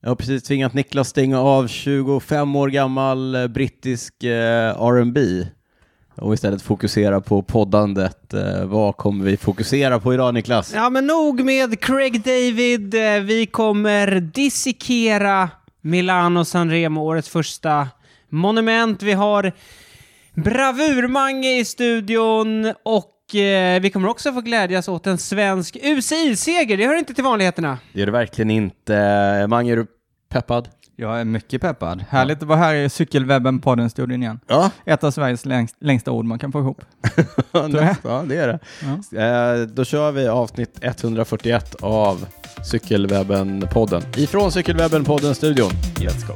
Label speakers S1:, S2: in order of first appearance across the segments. S1: Jag har precis tvingat Niklas stänga av 25 år gammal eh, brittisk eh, R&B och istället fokusera på poddandet. Eh, vad kommer vi fokusera på idag Niklas?
S2: Ja, men nog med Craig David. Eh, Vi kommer dissekera Milano Sanremo, årets första monument. Vi har bravurmange i studion och eh, vi kommer också få glädjas åt en svensk UCI-seger. Det hör inte till vanligheterna.
S1: Det är det verkligen inte. Mange, är du peppad?
S3: Jag är mycket peppad. Härligt att vara här i Cykelwebben-podden-studion igen.
S1: Ja,
S3: Ett av Sveriges längst, längsta ord man kan få ihop.
S1: ja det är det. Eh, då kör vi avsnitt 141 av Cykelwebben-podden. Ifrån Cykelwebben-podden-studion. Let's go.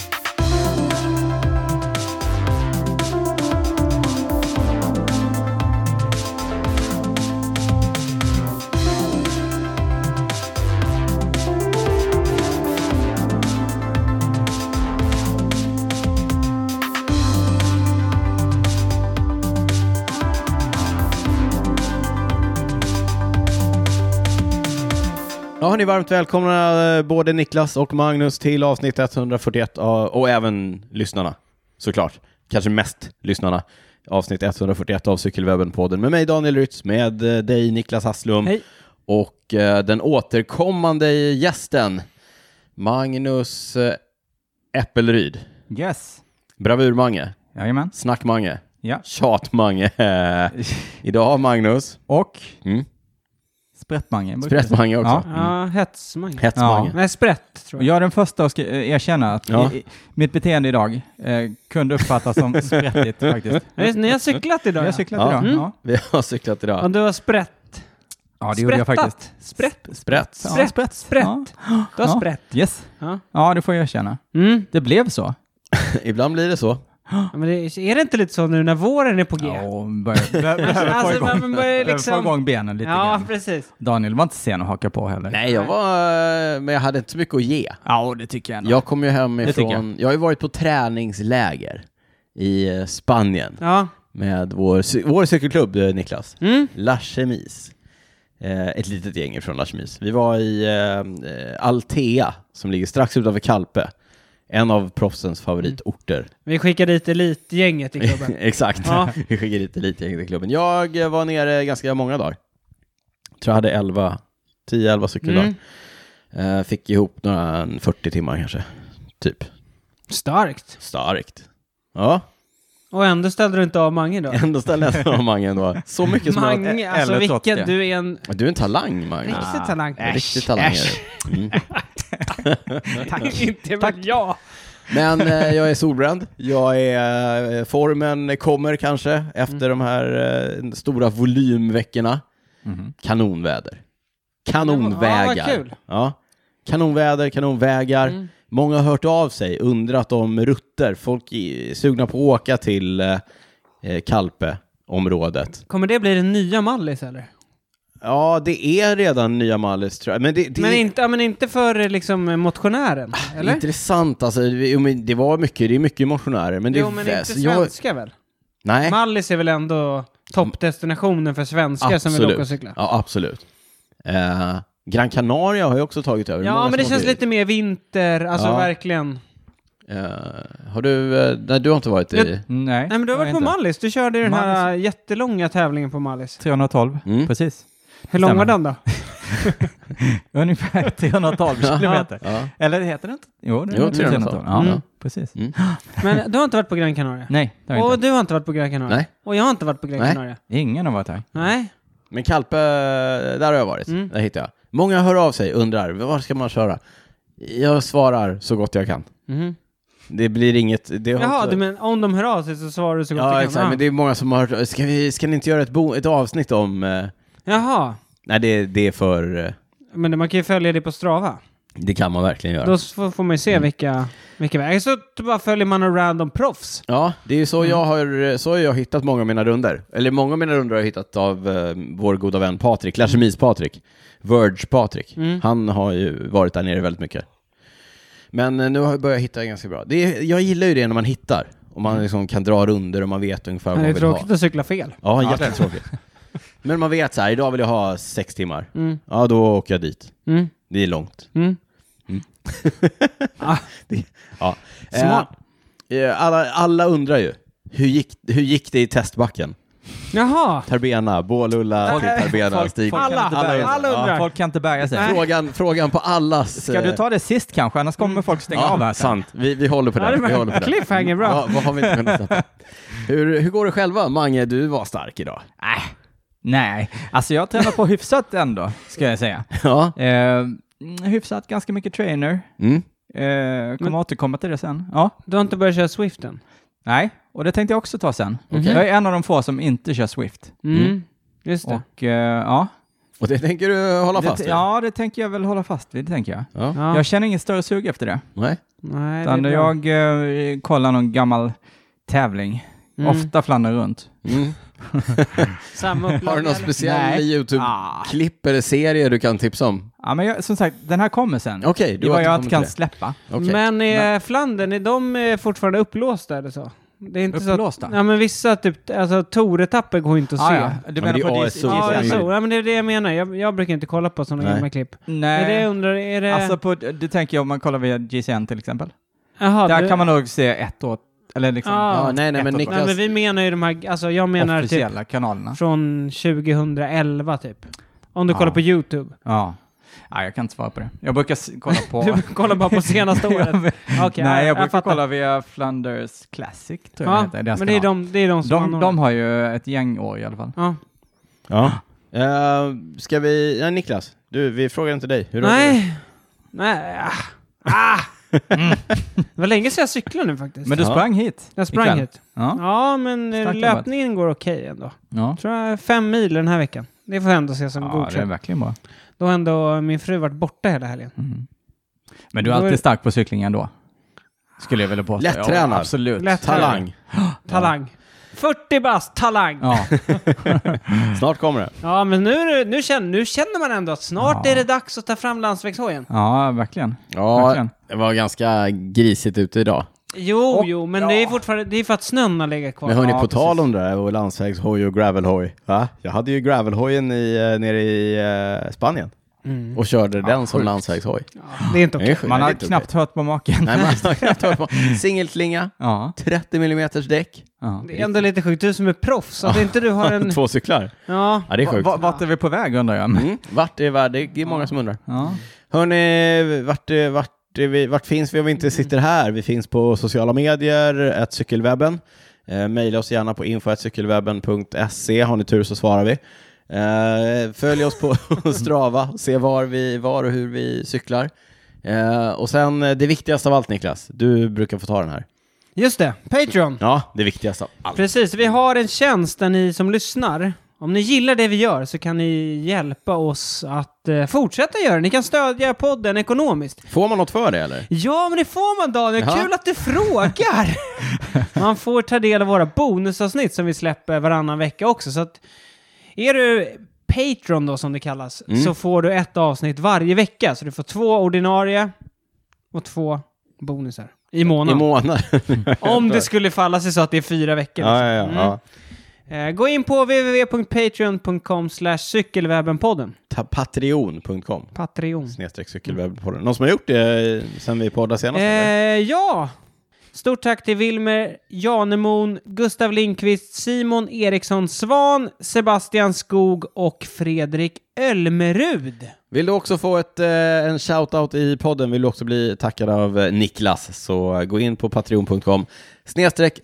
S1: Ja, hörni, varmt välkomna eh, både Niklas och Magnus till avsnitt 141 av- och även lyssnarna såklart. Kanske mest lyssnarna. Avsnitt 141 av Cykelwebben-podden med mig Daniel Rytz, med eh, dig Niklas Hasslum
S2: Hej.
S1: och eh, den återkommande gästen Magnus eh, Äppelryd.
S3: Yes.
S1: Bravurmange,
S3: Jajamän.
S1: snackmange,
S3: Ja.
S1: tjatmange. Idag Magnus,
S3: Och
S1: mm.
S3: sprättmange. brukar jag säga.
S1: sprättmange också.
S3: Ja.
S2: Ja, hetsmange.
S1: Hetsmange.
S2: Nej, sprätt tror
S3: Och
S2: jag.
S3: jag är den första att ska- eh, erkänna att
S1: Ja.
S3: i, i, mitt beteende idag eh, kunde uppfattas som sprättigt faktiskt.
S2: Ja. Ni har cyklat
S3: Jag
S2: idag,
S3: har
S2: ja.
S3: cyklat
S1: Ja.
S3: idag.
S2: Mm.
S3: Ja.
S1: Vi har cyklat idag.
S2: Ja, du har sprätt.
S3: ja, det gjorde jag
S2: Sprättat.
S3: faktiskt.
S2: Sprätt.
S1: Sprätt.
S3: Ja, sprätt.
S2: Sprätt.
S3: Ja.
S2: Du har
S3: Ja.
S2: sprätt.
S3: Yes.
S2: Ja.
S3: Ja, det får jag erkänna.
S2: Mm.
S3: Det blev så.
S1: Ibland blir det så.
S2: Ja, Men det, är det inte lite så nu när våren är på G?
S3: Ja, och börjar- behöver
S2: Alltså,
S3: få igång-
S2: man börjar
S3: behöver
S2: liksom-
S3: få igång benen lite
S2: ja,
S3: grann.
S2: precis.
S3: Daniel var inte sen att haka på heller.
S1: Nej, jag var, eh, men jag hade inte så mycket att ge.
S3: Ja, det tycker jag ändå.
S1: Jag kom ju hemifrån,
S3: tycker
S1: jag.
S3: jag.
S1: har ju varit på träningsläger i eh, Spanien
S2: Ja.
S1: med vår, cy- vår cykelklubb eh, Niklas,
S2: Mm.
S1: La Chemise. Eh, ett litet gäng från La Chemise. Vi var i eh, eh, Altea som ligger strax utanför Kalpe. En av proffsens favoritorter.
S2: Vi skickar dit elitgänget i klubben.
S1: Exakt.
S2: Ja.
S1: Vi skickade dit elitgänget i klubben. Jag eh, var nere ganska många dagar. Tror jag hade 11, 10-11 cykeldagar.
S2: Mm.
S1: Eh, fick ihop några en 40 timmar kanske. Typ.
S2: Starkt.
S1: Starkt. Ja,
S2: Och ändå ställde du inte av Mange då?
S1: ändå ställde jag frågan om Mange ändå. Så mycket som jag...
S2: Mange,
S3: Ä-
S2: alltså
S3: eller trots
S2: vilken,
S3: det.
S2: du är en
S1: Du är en talang, Mange.
S2: riktig talang.
S1: En Riktig talang är
S2: äsch.
S1: du. mm.
S2: Tack. inte väl jag.
S1: Men eh, jag är solbränd. Jag är... Eh, formen kommer kanske efter
S2: Mm.
S1: de här eh, stora volymveckorna.
S3: Mhm.
S1: Kanonväder. Kanonvägar.
S2: Ja, vad kul.
S1: Ja. Kanonväder, kanonvägar.
S2: Mm.
S1: Många har hört av sig, undrat om rutter. Folk är sugna på att åka till eh, eh, Kalpe-området.
S2: Kommer det bli den nya Mallis eller?
S1: Ja, det är redan nya Mallis tror jag. Men det, Ah, det
S2: Men,
S1: är
S2: inte, ja, men inte för liksom motionären? Eller?
S1: intressant alltså. Jo, men Det var mycket, det är mycket motionärer. Men det,
S2: jo, men inte
S1: alltså, jag-
S2: svenska väl?
S1: Nej,
S2: Mallis är väl ändå toppdestinationen för svenskar som vill åka och cykla?
S1: Ja, absolut. Eh, Gran Canaria har ju också tagit över. Hur många
S2: Ja, men
S1: som
S2: det
S1: har
S2: känns
S1: blivit?
S2: lite mer vinter, alltså
S1: Ja.
S2: verkligen.
S1: Eh, har du, eh, nej, du har inte varit i...
S3: Nej,
S2: Nej men du har
S3: jag
S2: varit
S3: är
S2: på
S3: inte.
S2: Mallis, du körde ju den här
S3: Mallis.
S2: jättelånga tävlingen på Mallis.
S3: 312,
S1: Mm.
S3: precis.
S2: Hur lång var
S3: Stämmer.
S2: den då?
S3: Ungefär 312 kilometer.
S1: Ja.
S3: Eller heter det inte? Jo, det
S1: Jo,
S3: är
S1: 312.
S3: 312. Ja,
S1: Mm.
S3: precis.
S1: Mm.
S2: Men du har inte varit på Gran Canaria?
S3: Nej, det har jag
S2: Och
S3: inte.
S2: du har inte varit på Gran Canaria?
S1: Nej.
S2: Och jag har inte varit på Gran
S1: Nej.
S2: Canaria?
S3: Ingen har varit här.
S2: Nej.
S1: Men Kalpe, där har jag varit.
S2: Mm.
S1: Där hittar jag. Många hör av sig, undrar, var ska man köra? Jag svarar så gott jag kan.
S2: Mhm.
S1: Det blir inget... Det har
S2: Jaha,
S1: inte-
S2: du men om de hör av sig så svarar du så gott du
S1: Ja,
S2: kan? Ah.
S1: exakt. Men det är många som har hört, ska, vi, ska ni inte göra ett, bo, ett avsnitt om... eh,
S2: Jaha.
S1: Nej, det, det är för... eh,
S2: Men man kan ju följa det på Strava.
S1: Det kan man verkligen göra.
S2: Då s- får får man ju se
S3: Mm.
S2: vilka, vilka vägar. Så t- bara följer man en random proffs.
S1: Ja, det är ju så,
S2: Mm.
S1: jag har, så har jag hittat många av mina runder. Eller många av mina runder har jag hittat av eh, vår goda vän Patrik, Lachemis Patrik, Verge Patrik.
S2: Mm.
S1: Han har ju varit där nere väldigt mycket. Men eh, nu har jag börjat hitta ganska bra. Det är, jag gillar ju det när man hittar. Och man liksom kan dra runder och man vet ungefär vad
S2: Men det
S1: man
S2: Mm. är
S1: vill ha.
S2: tråkigt att cykla fel.
S1: Ja, jättetråkigt. Men man vet så här, idag vill jag ha sex timmar.
S2: Mm.
S1: Ja, då åker jag dit.
S2: Mm.
S1: Det är långt.
S2: Mm.
S1: Ja.
S2: Smart.
S1: Eh, eh, alla, alla undrar ju, hur gick, hur gick det i testbacken?
S2: Jaha.
S1: Tarbena, Bålulla, till Tarbena,
S3: folk,
S1: Stig.
S3: folk, kan
S2: Alla,
S3: inte bära
S2: alla
S3: sig.
S2: undrar.
S3: Ja, folk kan inte bära sig.
S1: Frågan, frågan på allas... eh,
S3: Ska du ta det sist kanske? Annars kommer folk stänga av här.
S1: Ja,
S3: sen.
S1: sant. Vi, vi håller på
S2: Ja, det
S1: den.
S2: var
S1: Vi håller på den.
S2: cliffhanger, bra.
S1: Ja, vad har vi inte kunnat släppa? Hur, hur går det själva? Mange, du var stark idag.
S3: Nej. Nej, alltså jag tränar på hyfsat ändå, ska jag säga.
S1: Ja.
S3: Eh, mm, hyfsat, ganska mycket trainer.
S1: Mm.
S3: Eh, kommer återkomma till det sen. Ja,
S2: Du har inte börjat köra Swiften?
S3: nej, och det tänkte jag också ta sen. Jag är en av de få som inte kör Swift.
S2: Mm. Just det.
S3: Och eh, ja,
S1: Och det tänker du hålla fast
S3: det,
S1: vid?
S3: ja, det tänker jag väl hålla fast vid, tänker jag.
S1: ja.
S2: Ja.
S3: Jag känner ingen större sug efter det.
S1: Nej.
S2: Nej, det är
S3: Utan
S2: bra.
S3: jag eh, kollar någon gammal tävling.
S2: Mm.
S3: Ofta fladdrar runt.
S1: Mm.
S2: Samma upplaga,
S1: Har du någon
S2: eller?
S1: speciell
S3: Nej. Ah.
S1: YouTube-klipp eller serie du kan tipsa om?
S3: Ja, men jag, som sagt, den här kommer sen.
S1: Okej,
S3: det
S1: du
S3: är vad jag
S1: återkommer
S3: inte kan
S1: till
S3: släppa.
S1: det. Okej.
S2: Men är Flandern, är de eh, fortfarande upplåsta eller så? Det är inte Så
S3: Upplåsta?
S2: att, ja, men vissa typ, alltså touretapper går inte att
S3: Ah,
S2: se.
S3: ja.
S2: Ja,
S3: Du
S1: men
S3: menar
S1: det är
S3: på
S1: ASO.
S3: ASO?
S1: Ja,
S2: jag
S1: men-
S2: tror. Ja, men det är det jag menar. Jag, jag brukar inte kolla på sådana
S1: Nej.
S2: gamla klipp.
S3: Nej. Eh,
S2: Är det, jag undrar, är det...
S3: Alltså på, det tänker jag om man kollar via GCN till exempel.
S2: Jaha,
S3: Där
S2: du-
S3: kan man nog se ett år, eller liksom
S2: Ah.
S1: ja, nej, nej, men
S3: Ett och ett
S2: Nej,
S1: Niklas...
S2: men vi menar ju de här, alltså jag menar typ
S3: officiella kanalerna.
S2: från 2011 typ. Om du kollar
S3: Ja.
S2: på YouTube.
S3: Ja. Nej, jag kan inte svara på det. Jag brukar s- kolla på...
S2: Du kollar bara på senaste året.
S3: Jag vet-
S2: Okej,
S3: Nej, jag
S2: jag
S3: brukar
S2: fattar.
S3: kolla via Flanders Classic, tror jag
S2: Ja,
S3: heter. deras
S2: men det är,
S3: kanal.
S2: de, det är de som
S3: de,
S2: anordnar.
S3: de har ju ett gäng år i alla fall.
S2: ja.
S1: Ja. Eh, ska vi... Ja, Niklas, du, vi frågar inte dig. Hur har du
S2: Nej. Nej. Ah. Ah. Det var länge sedan jag cyklade nu faktiskt.
S3: Men du
S1: Ja.
S3: sprang hit?
S2: jag sprang
S3: ikväll.
S2: hit.
S3: Ja.
S2: Ja, men eh,
S3: Starkt jobbat.
S2: löpningen går okej ändå.
S3: ja.
S2: tror jag fem mil den här veckan. Det får jag ändå se som
S3: Ja, det är
S2: godkänt.
S3: verkligen bra.
S2: Då har ändå min fru varit borta hela helgen.
S3: Mm. Men du är
S2: Då är-
S3: alltid stark på cykling ändå? Skulle jag vilja påstå.
S1: Lättränad.
S3: Ja, absolut.
S2: Lätt-
S1: Talang.
S2: Talang. 40 bast, talang! Ja,
S3: Ja.
S1: Snart kommer det.
S2: men nu, är det- nu, känner, nu känner man ändå att snart
S3: Ja.
S2: är det dags att ta fram landsvägshojen.
S3: ja, verkligen.
S1: Ja,
S3: Verkligen.
S1: det var ganska grisigt ute idag.
S2: Jo,
S3: Och-
S2: jo, men
S3: ja.
S2: det är fortfarande det är för att snön har legat kvar.
S1: Men hörni,
S3: Ja,
S1: på
S3: precis.
S1: tal om det där, och landsvägshoj och gravelhoj. Va? Jag hade ju gravelhojen i, eh, nere i eh, Spanien
S2: Mm.
S1: och körde den som
S3: sjukt.
S1: landsvägshoj.
S2: Ja, det är inte okej.
S1: Det är sjukt.
S3: Man
S1: Det är
S3: har
S1: inte
S3: knappt hört på maken.
S1: okej. Nej, man har knappt hört på. Singelklinga,
S3: Ja.
S1: 30 mm däck.
S3: ja.
S2: Det är ändå lite sjukt. Du som är proffs, att inte du har en...
S1: Två cyklar.
S2: Ja.
S1: Ja, det är sjukt.
S3: Va- Vart är vi på väg undrar jag.
S1: Mm. Vart är världen? Det är många som undrar.
S3: Ja.
S1: Hörni, vart, eh, vart, är vi, vart finns vi om vi inte sitter här? Vi finns på sociala medier, att cykelwebben. Eh, Mejla oss gärna på info.cykelwebben.se. Har ni tur så svarar vi. Eh, följ oss på Strava, se var, vi, var och hur vi cyklar. Eh, och sen eh, det viktigaste av allt Niklas, du brukar få ta den här.
S2: Just det, Patreon.
S1: Ja, det viktigaste av allt.
S2: Precis, vi har en tjänst där ni som lyssnar, om ni gillar det vi gör så kan ni hjälpa oss att eh, fortsätta göra det. Ni kan stödja podden ekonomiskt.
S1: Får man något för det eller?
S2: Ja, men det får man Daniel.
S1: Jaha.
S2: Kul att du frågar! man får ta del av våra bonusavsnitt som vi släpper varannan vecka också. Så att, är du Patreon då som det kallas, så får du ett avsnitt varje vecka. Så du får två ordinarie och två bonusar i
S1: I
S2: månaden.
S1: månaden?
S2: Om det skulle falla sig så att det är fyra veckor.
S1: ja,
S2: liksom.
S1: ja, ja,
S2: Mm.
S1: ja.
S2: Eh, Gå in på www.patreon.com cykelwebbenpodden.
S1: Ta- Patreon.com
S2: Patreon.
S1: snedstreck cykelwebbpodden. Någon som har gjort det sen vi poddade senast?
S2: Eh,
S1: eller?
S2: ja! Stort tack till Wilmer Janemon, Gustav Lindqvist, Simon Eriksson Svan, Sebastian Skog och Fredrik Ölmerud.
S1: Vill du också få ett, eh, en shoutout i podden, vill du också bli tackad av eh, Niklas, så gå in på patreon.com snedstreck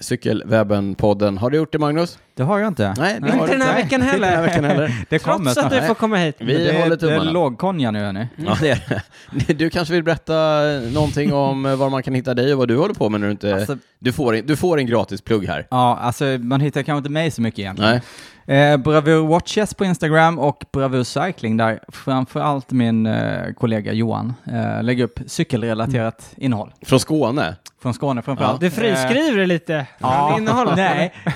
S1: cykelwebben-podden. Har du gjort det Magnus?
S3: Det har jag inte.
S1: Nej, det har
S2: Inte
S1: du
S2: den här veckan
S1: Den här
S2: heller.
S1: veckan heller.
S3: Det kommer
S2: Trots att
S3: snart.
S2: du får komma hit.
S1: Vi
S3: det
S1: håller
S3: Det
S1: tummarna.
S3: är lågkonja nu hörni.
S1: Ja, det är det. Du kanske vill berätta någonting om eh, var man kan hitta dig och vad du håller på med när du inte...
S3: Alltså-
S1: du, får, en- du får en gratis plugg här.
S3: Ja, alltså man hittar kanske inte mig så mycket egentligen.
S1: Nej.
S3: Eh, Bravur Watches på Instagram och Bravur Cycling där framförallt min eh, kollega Johan eh, lägger upp cykelrelaterat
S1: Mm.
S3: innehåll.
S1: Från Skåne?
S3: Från Skåne framförallt.
S2: Du friskriver dig lite.
S3: Ja,
S2: från innehållet.
S3: nej, eh,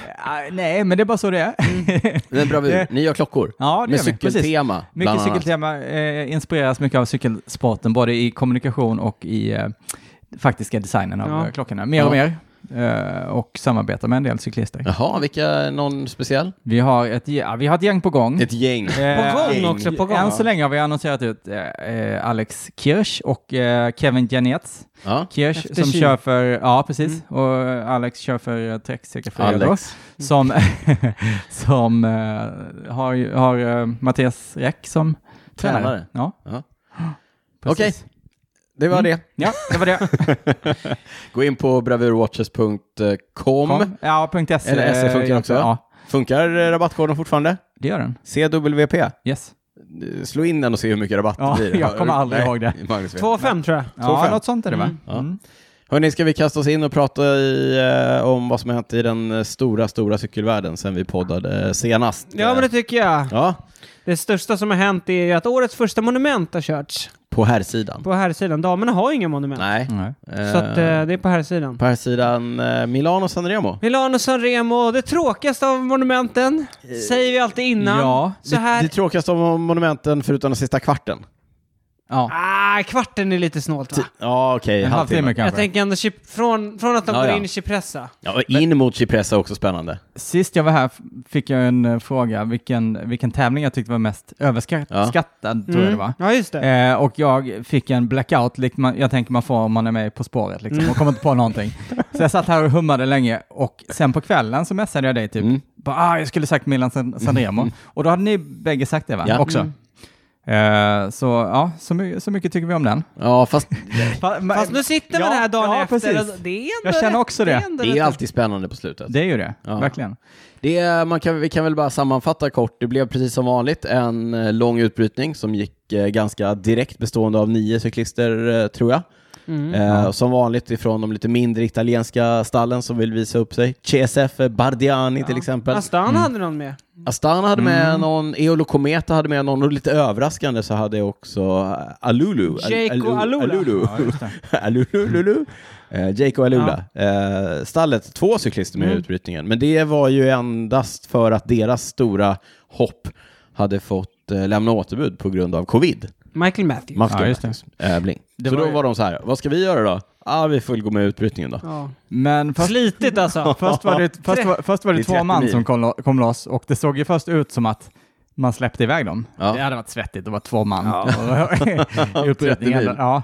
S3: nej, men det är bara så det är.
S1: Men bravur, ni gör klockor?
S3: Ja, det
S1: Mm. med
S3: gör vi. Precis.
S1: cykeltema, bland
S3: Mycket
S1: annat.
S3: cykeltema, eh, inspireras mycket av cykelsporten, både i kommunikation och i eh, faktiska designen av
S2: Ja.
S3: eh, klockorna. Mer
S1: Ja.
S3: och mer. eh, och samarbetar med en del cyklister.
S1: Jaha, vilka, någon speciell?
S3: Vi, har ett, ge- ja, vi har ett gäng på gång.
S1: Ett gäng.
S3: Eh,
S2: På gång
S1: gäng.
S2: också, på gång.
S3: Än så länge har vi annonserat ut eh, eh, Alex Kirsch och eh, Kevin Janets.
S1: Ja.
S3: Kirsch
S2: Efter
S3: som
S2: Kil.
S3: kör för, ja precis, och eh, Alex kör för eh, Trek CK4 då.
S1: Mm. Alex.
S3: Som, som eh, har, ju- har eh, Mattias Räck som tränare.
S1: Tränare.
S3: Ja.
S1: Ja.
S3: Precis. Mm.
S1: Det var det.
S3: Ja, det var det.
S1: Gå in på bravurwatches.com.
S3: Kom. Ja, punkt .se.
S1: Eller SE funkar
S3: eh,
S1: också.
S3: Ja,
S1: Funkar eh, rabattkoden fortfarande?
S3: det gör den.
S1: CWP.
S3: Yes.
S1: Eh, Slå in den och se hur mycket rabatt
S3: Ja,
S1: det blir.
S3: jag kommer aldrig ihåg det.
S2: 2,5 tror jag.
S3: Ja,
S1: 2,5.
S3: något sånt är det va?
S2: Mm.
S1: Ja. Hörni, ska vi kasta oss in och prata i, eh, om vad som har hänt i den eh, stora, stora cykelvärlden sen vi poddade eh, senast?
S2: Ja, men det tycker jag.
S1: Ja,
S2: Det största som har hänt är ju att årets första monument har körts
S1: på här sidan.
S2: på här sidan. Damerna har ju inga monument.
S1: Nej.
S3: Nej.
S2: Så att, eh, det är på här sidan.
S1: på här sidan eh, Milano Sanremo.
S2: Milano San Remo, det tråkigaste av monumenten, säger vi alltid innan.
S3: Ja,
S2: så här...
S1: Eh, Det tråkigaste om monumenten förutom den sista kvarten.
S3: Ja,
S2: ah, kvarten är lite snålt va?
S1: Typ, Ja, okej.
S3: en halvtimme kanske.
S2: Jag tänker ändå Chip- från, från att de
S1: Ja,
S2: går
S1: ja.
S2: in i Cipressa.
S1: Ja, och in mot Cipressa är också spännande.
S3: Sist jag var här f- fick jag en eh, fråga vilken, vilken tävling jag tyckte var mest
S1: Ja.
S3: överskattad, tror jag det var.
S2: Ja, just det.
S3: Eh, och jag fick en blackout, likt man, jag tänker man får om man är med På spåret liksom,
S1: Mm.
S3: och kommer inte på någonting. Så jag satt här och hummade länge och sen på kvällen så messade jag dig typ,
S1: Mm.
S3: bara, ah, jag skulle sagt Milan San- Sanremo. Och då hade ni bägge sagt det va?
S1: Ja.
S3: Också. Eh, så ja, så, my- så mycket tycker vi om den.
S1: Ja, fast
S2: Fast nu sitter man
S3: Ja,
S2: här dagen
S3: ja,
S2: efter.
S3: Precis.
S2: och Det är ändå
S3: Jag känner
S2: rätt-
S3: också det.
S2: ändå
S1: det är
S2: rätt-
S1: alltid spännande på slutet.
S3: Det är ju det,
S1: Ja.
S3: verkligen.
S1: Det är, man kan, vi kan väl bara sammanfatta kort. Det blev precis som vanligt en eh, lång utbrytning som gick eh, ganska direkt bestående av nio cyklister eh, tror jag. Eh, och Som vanligt ifrån de lite mindre italienska stallen som vill visa upp sig. CSF Bardiani till exempel. Mm.
S2: Astana hade någon med.
S1: Astana hade med någon, Eolo Kometa hade med någon och lite överraskande så hade jag också eh, Alulu. Al-
S2: Jaco
S1: Alu-
S2: Alula.
S1: Alulu.
S3: Ja, just det.
S1: Alulululu. Eh, Jake och Alula. Eh, stallet, två cyklister med i
S3: Mm.
S1: utbrytningen. Men det var ju endast för att deras stora hopp hade fått eh, lämna återbud på grund av covid.
S2: Michael Matthews.
S1: Michael
S3: Ja, just det.
S1: Matthews, eh, Bling.
S3: Det
S1: så
S3: var
S1: då
S3: ju-
S1: var de så här, vad ska vi göra då? Ah, vi får väl gå med i utbrytningen då.
S2: ja.
S3: Men först,
S2: Slitigt alltså.
S3: Först var det, först var, först var det,
S1: Det är
S3: två
S1: 30
S3: man
S1: mil.
S3: som kom, lo- kom loss och det såg ju först ut som att man släppte iväg dem.
S1: Ja.
S3: Det hade varit svettigt att vara två man. i
S1: 30 mil.
S3: utbrytningen. ja,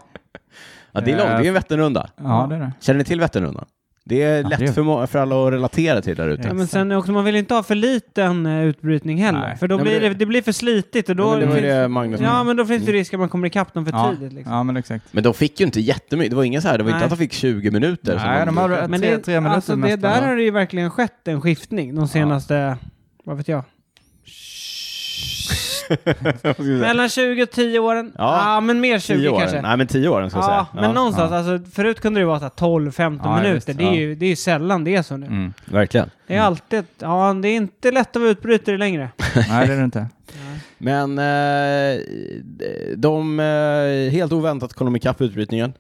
S1: Ja, det är långt, det är en Vätternrunda.
S3: ja, det är det.
S1: Känner ni till Vätternrundan? Det är lätt
S3: Eh, det är-
S1: För, må- för alla att relatera till där ute.
S2: Ja, men sen också, man vill inte ha för liten eh, utbrytning heller,
S3: Nej.
S2: för då
S1: Nej, men
S2: blir det,
S1: det-
S2: det, blir för slitigt och då...
S1: Ja, men det var ju
S2: finns,
S1: det Mm. Magnus
S2: ja, men då finns det risk att man kommer ikapp dem för
S3: Ja,
S2: tidigt. Liksom.
S3: ja, men exakt.
S1: Men de fick ju inte jättemycket, det var ingen så här, det var inte
S2: Nej.
S1: att de fick 20 minuter. som
S3: Nej, de hade-
S2: Men
S3: Tre-
S2: det,
S3: tre minuter
S2: alltså, det,
S3: nästan,
S2: där
S3: ja.
S2: har det ju verkligen skett en skiftning de senaste, vad vet jag, mellan 20 och 10 åren.
S1: Ja.
S2: Ja, men mer 20
S1: 10 åren.
S2: kanske.
S1: Nej, men 10 åren ska jag
S2: Ja,
S1: säga.
S2: men någonstans, alltså, förut kunde det vara så här 12-15
S3: Ja,
S2: minuter.
S3: visst,
S2: det, är
S3: ja.
S2: ju, det är ju sällan det är så nu.
S3: Mm.
S1: Verkligen.
S2: Det är alltid, ja, det är inte lätt att vara utbrytare längre.
S3: Nej, det är det inte.
S1: Men eh, de, eh, helt oväntat kom de ikapp utbrytningen.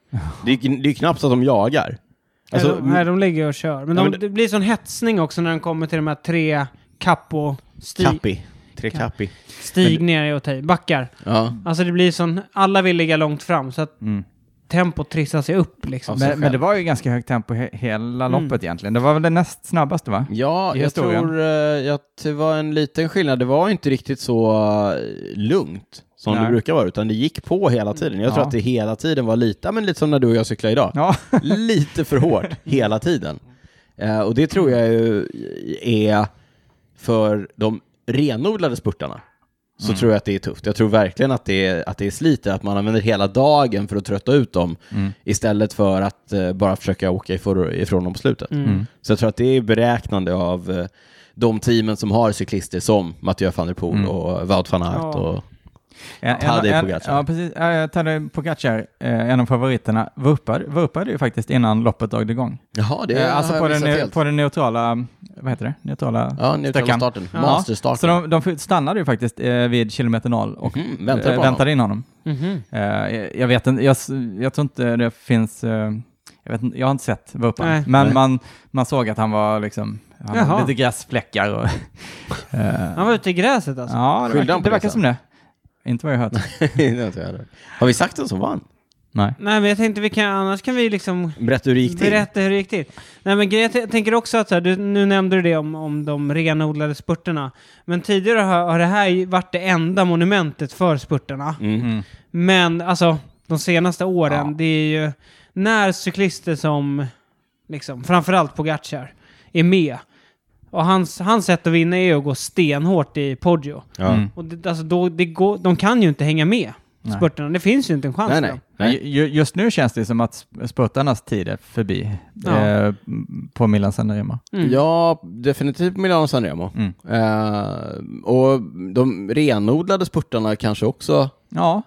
S1: Det är, det är knappt så att de jagar. Alltså,
S2: nej, de, nej, de ligger och kör. Men,
S1: Ja,
S2: de,
S1: men-
S2: det blir sån hetsning också när de kommer till de här tre kappo sti,
S1: kappi. Tre kappi.
S2: stig ner i och backar.
S1: Ja.
S2: Alltså det blir sån, alla vill ligga långt fram så att
S3: Mm.
S2: tempot trissar sig upp liksom.
S1: Ja, sig
S3: Men, men det
S1: själv.
S3: var ju ganska högt tempo he hela
S2: Mm.
S3: loppet egentligen. Det var väl det näst snabbaste va?
S1: Ja,
S3: I
S1: jag
S3: historien.
S1: tror eh, att det var en liten skillnad. Det var inte riktigt så eh, lugnt som
S3: Nej.
S1: det brukar vara, utan det gick på hela tiden. Jag tror
S3: Ja.
S1: att det hela tiden var lite, ja, men lite som när du och jag cyklar idag.
S3: Ja,
S1: lite för hårt hela tiden. Eh, och det tror jag ju är för de renodlade spurtarna. Så tror jag att det är tufft. Jag tror verkligen att det, är, att det är sliter, att man använder hela dagen för att trötta ut dem istället för att eh, bara försöka åka ifrån, ifrån dem på slutet. Så jag tror att det är beräknande av eh, de teamen som har cyklister som Mathieu van der Poel och Wout van Aert.
S2: Ja.
S1: Och,
S3: En- en-
S1: Tadej
S3: en-
S1: Pogacar.
S3: Ja, precis. Ja, ja, Tadej Pogacar, eh, en av favoriterna, vurpade, vurpade ju faktiskt innan loppet drog igång.
S1: jaha, det
S3: Eh, alltså
S1: har
S3: på
S1: jag
S3: den,
S1: missat
S3: ne-
S1: helt.
S3: på den neutrala, vad heter det? Neutrala
S1: Ja, neutrala
S3: sträckan.
S1: starten.
S3: Ja,
S1: Masterstarten.
S3: Så de, de stannade ju faktiskt eh, vid kilometer noll och
S1: Mhm, väntade
S3: eh,
S1: på
S3: väntade in honom.
S2: Mhm.
S3: Eh, jag- jag vet inte, jag, s- jag tror inte det finns, eh, jag, vet, inte- jag har inte sett vurpan,
S2: Nej.
S3: men
S1: Nej.
S3: Man, man såg att han var liksom, han hade
S2: Jaha.
S3: lite gräsfläckar och... eh,
S2: Han var ute i gräset alltså.
S3: ja, det
S1: Skyllde
S3: verkar,
S1: han på
S3: det
S1: det
S3: verkar
S1: sen?
S3: som det. Inte vad jag hört.
S1: Det har inte jag hört. har vi sagt vem som vann?
S3: Nej.
S2: Nej, men jag tänkte vi kan, annars kan vi liksom
S1: Berätta hur det gick till.
S2: berätta hur det gick till. Nej, men grejen, jag tänker också att så här, du, nu nämnde du det om, om de renodlade spurterna. Men tidigare har, har det här ju varit det enda monumentet för spurterna.
S1: Mm.
S2: Men alltså, de senaste åren,
S3: Ja.
S2: det är ju när cyklister som, liksom, framförallt Pogacar, är med. Och hans, hans sätt att vinna är ju att gå stenhårt i Poggio.
S1: Ja.
S3: Mm.
S2: Och det, alltså, då, det går, de kan ju inte hänga med,
S3: Nej.
S2: spurterna. Det finns ju inte en chans
S1: Nej,
S2: för
S1: nej.
S2: dem.
S3: Men
S1: nej.
S3: ju- ju- Just nu känns det som att spurtarnas tid är förbi
S2: Ja.
S3: eh, på Milan San Remo.
S2: Mm.
S1: Ja, definitivt på Milano Sanremo.
S3: Mm.
S1: Eh, och de renodlade spurtarna kanske också.
S3: Ja,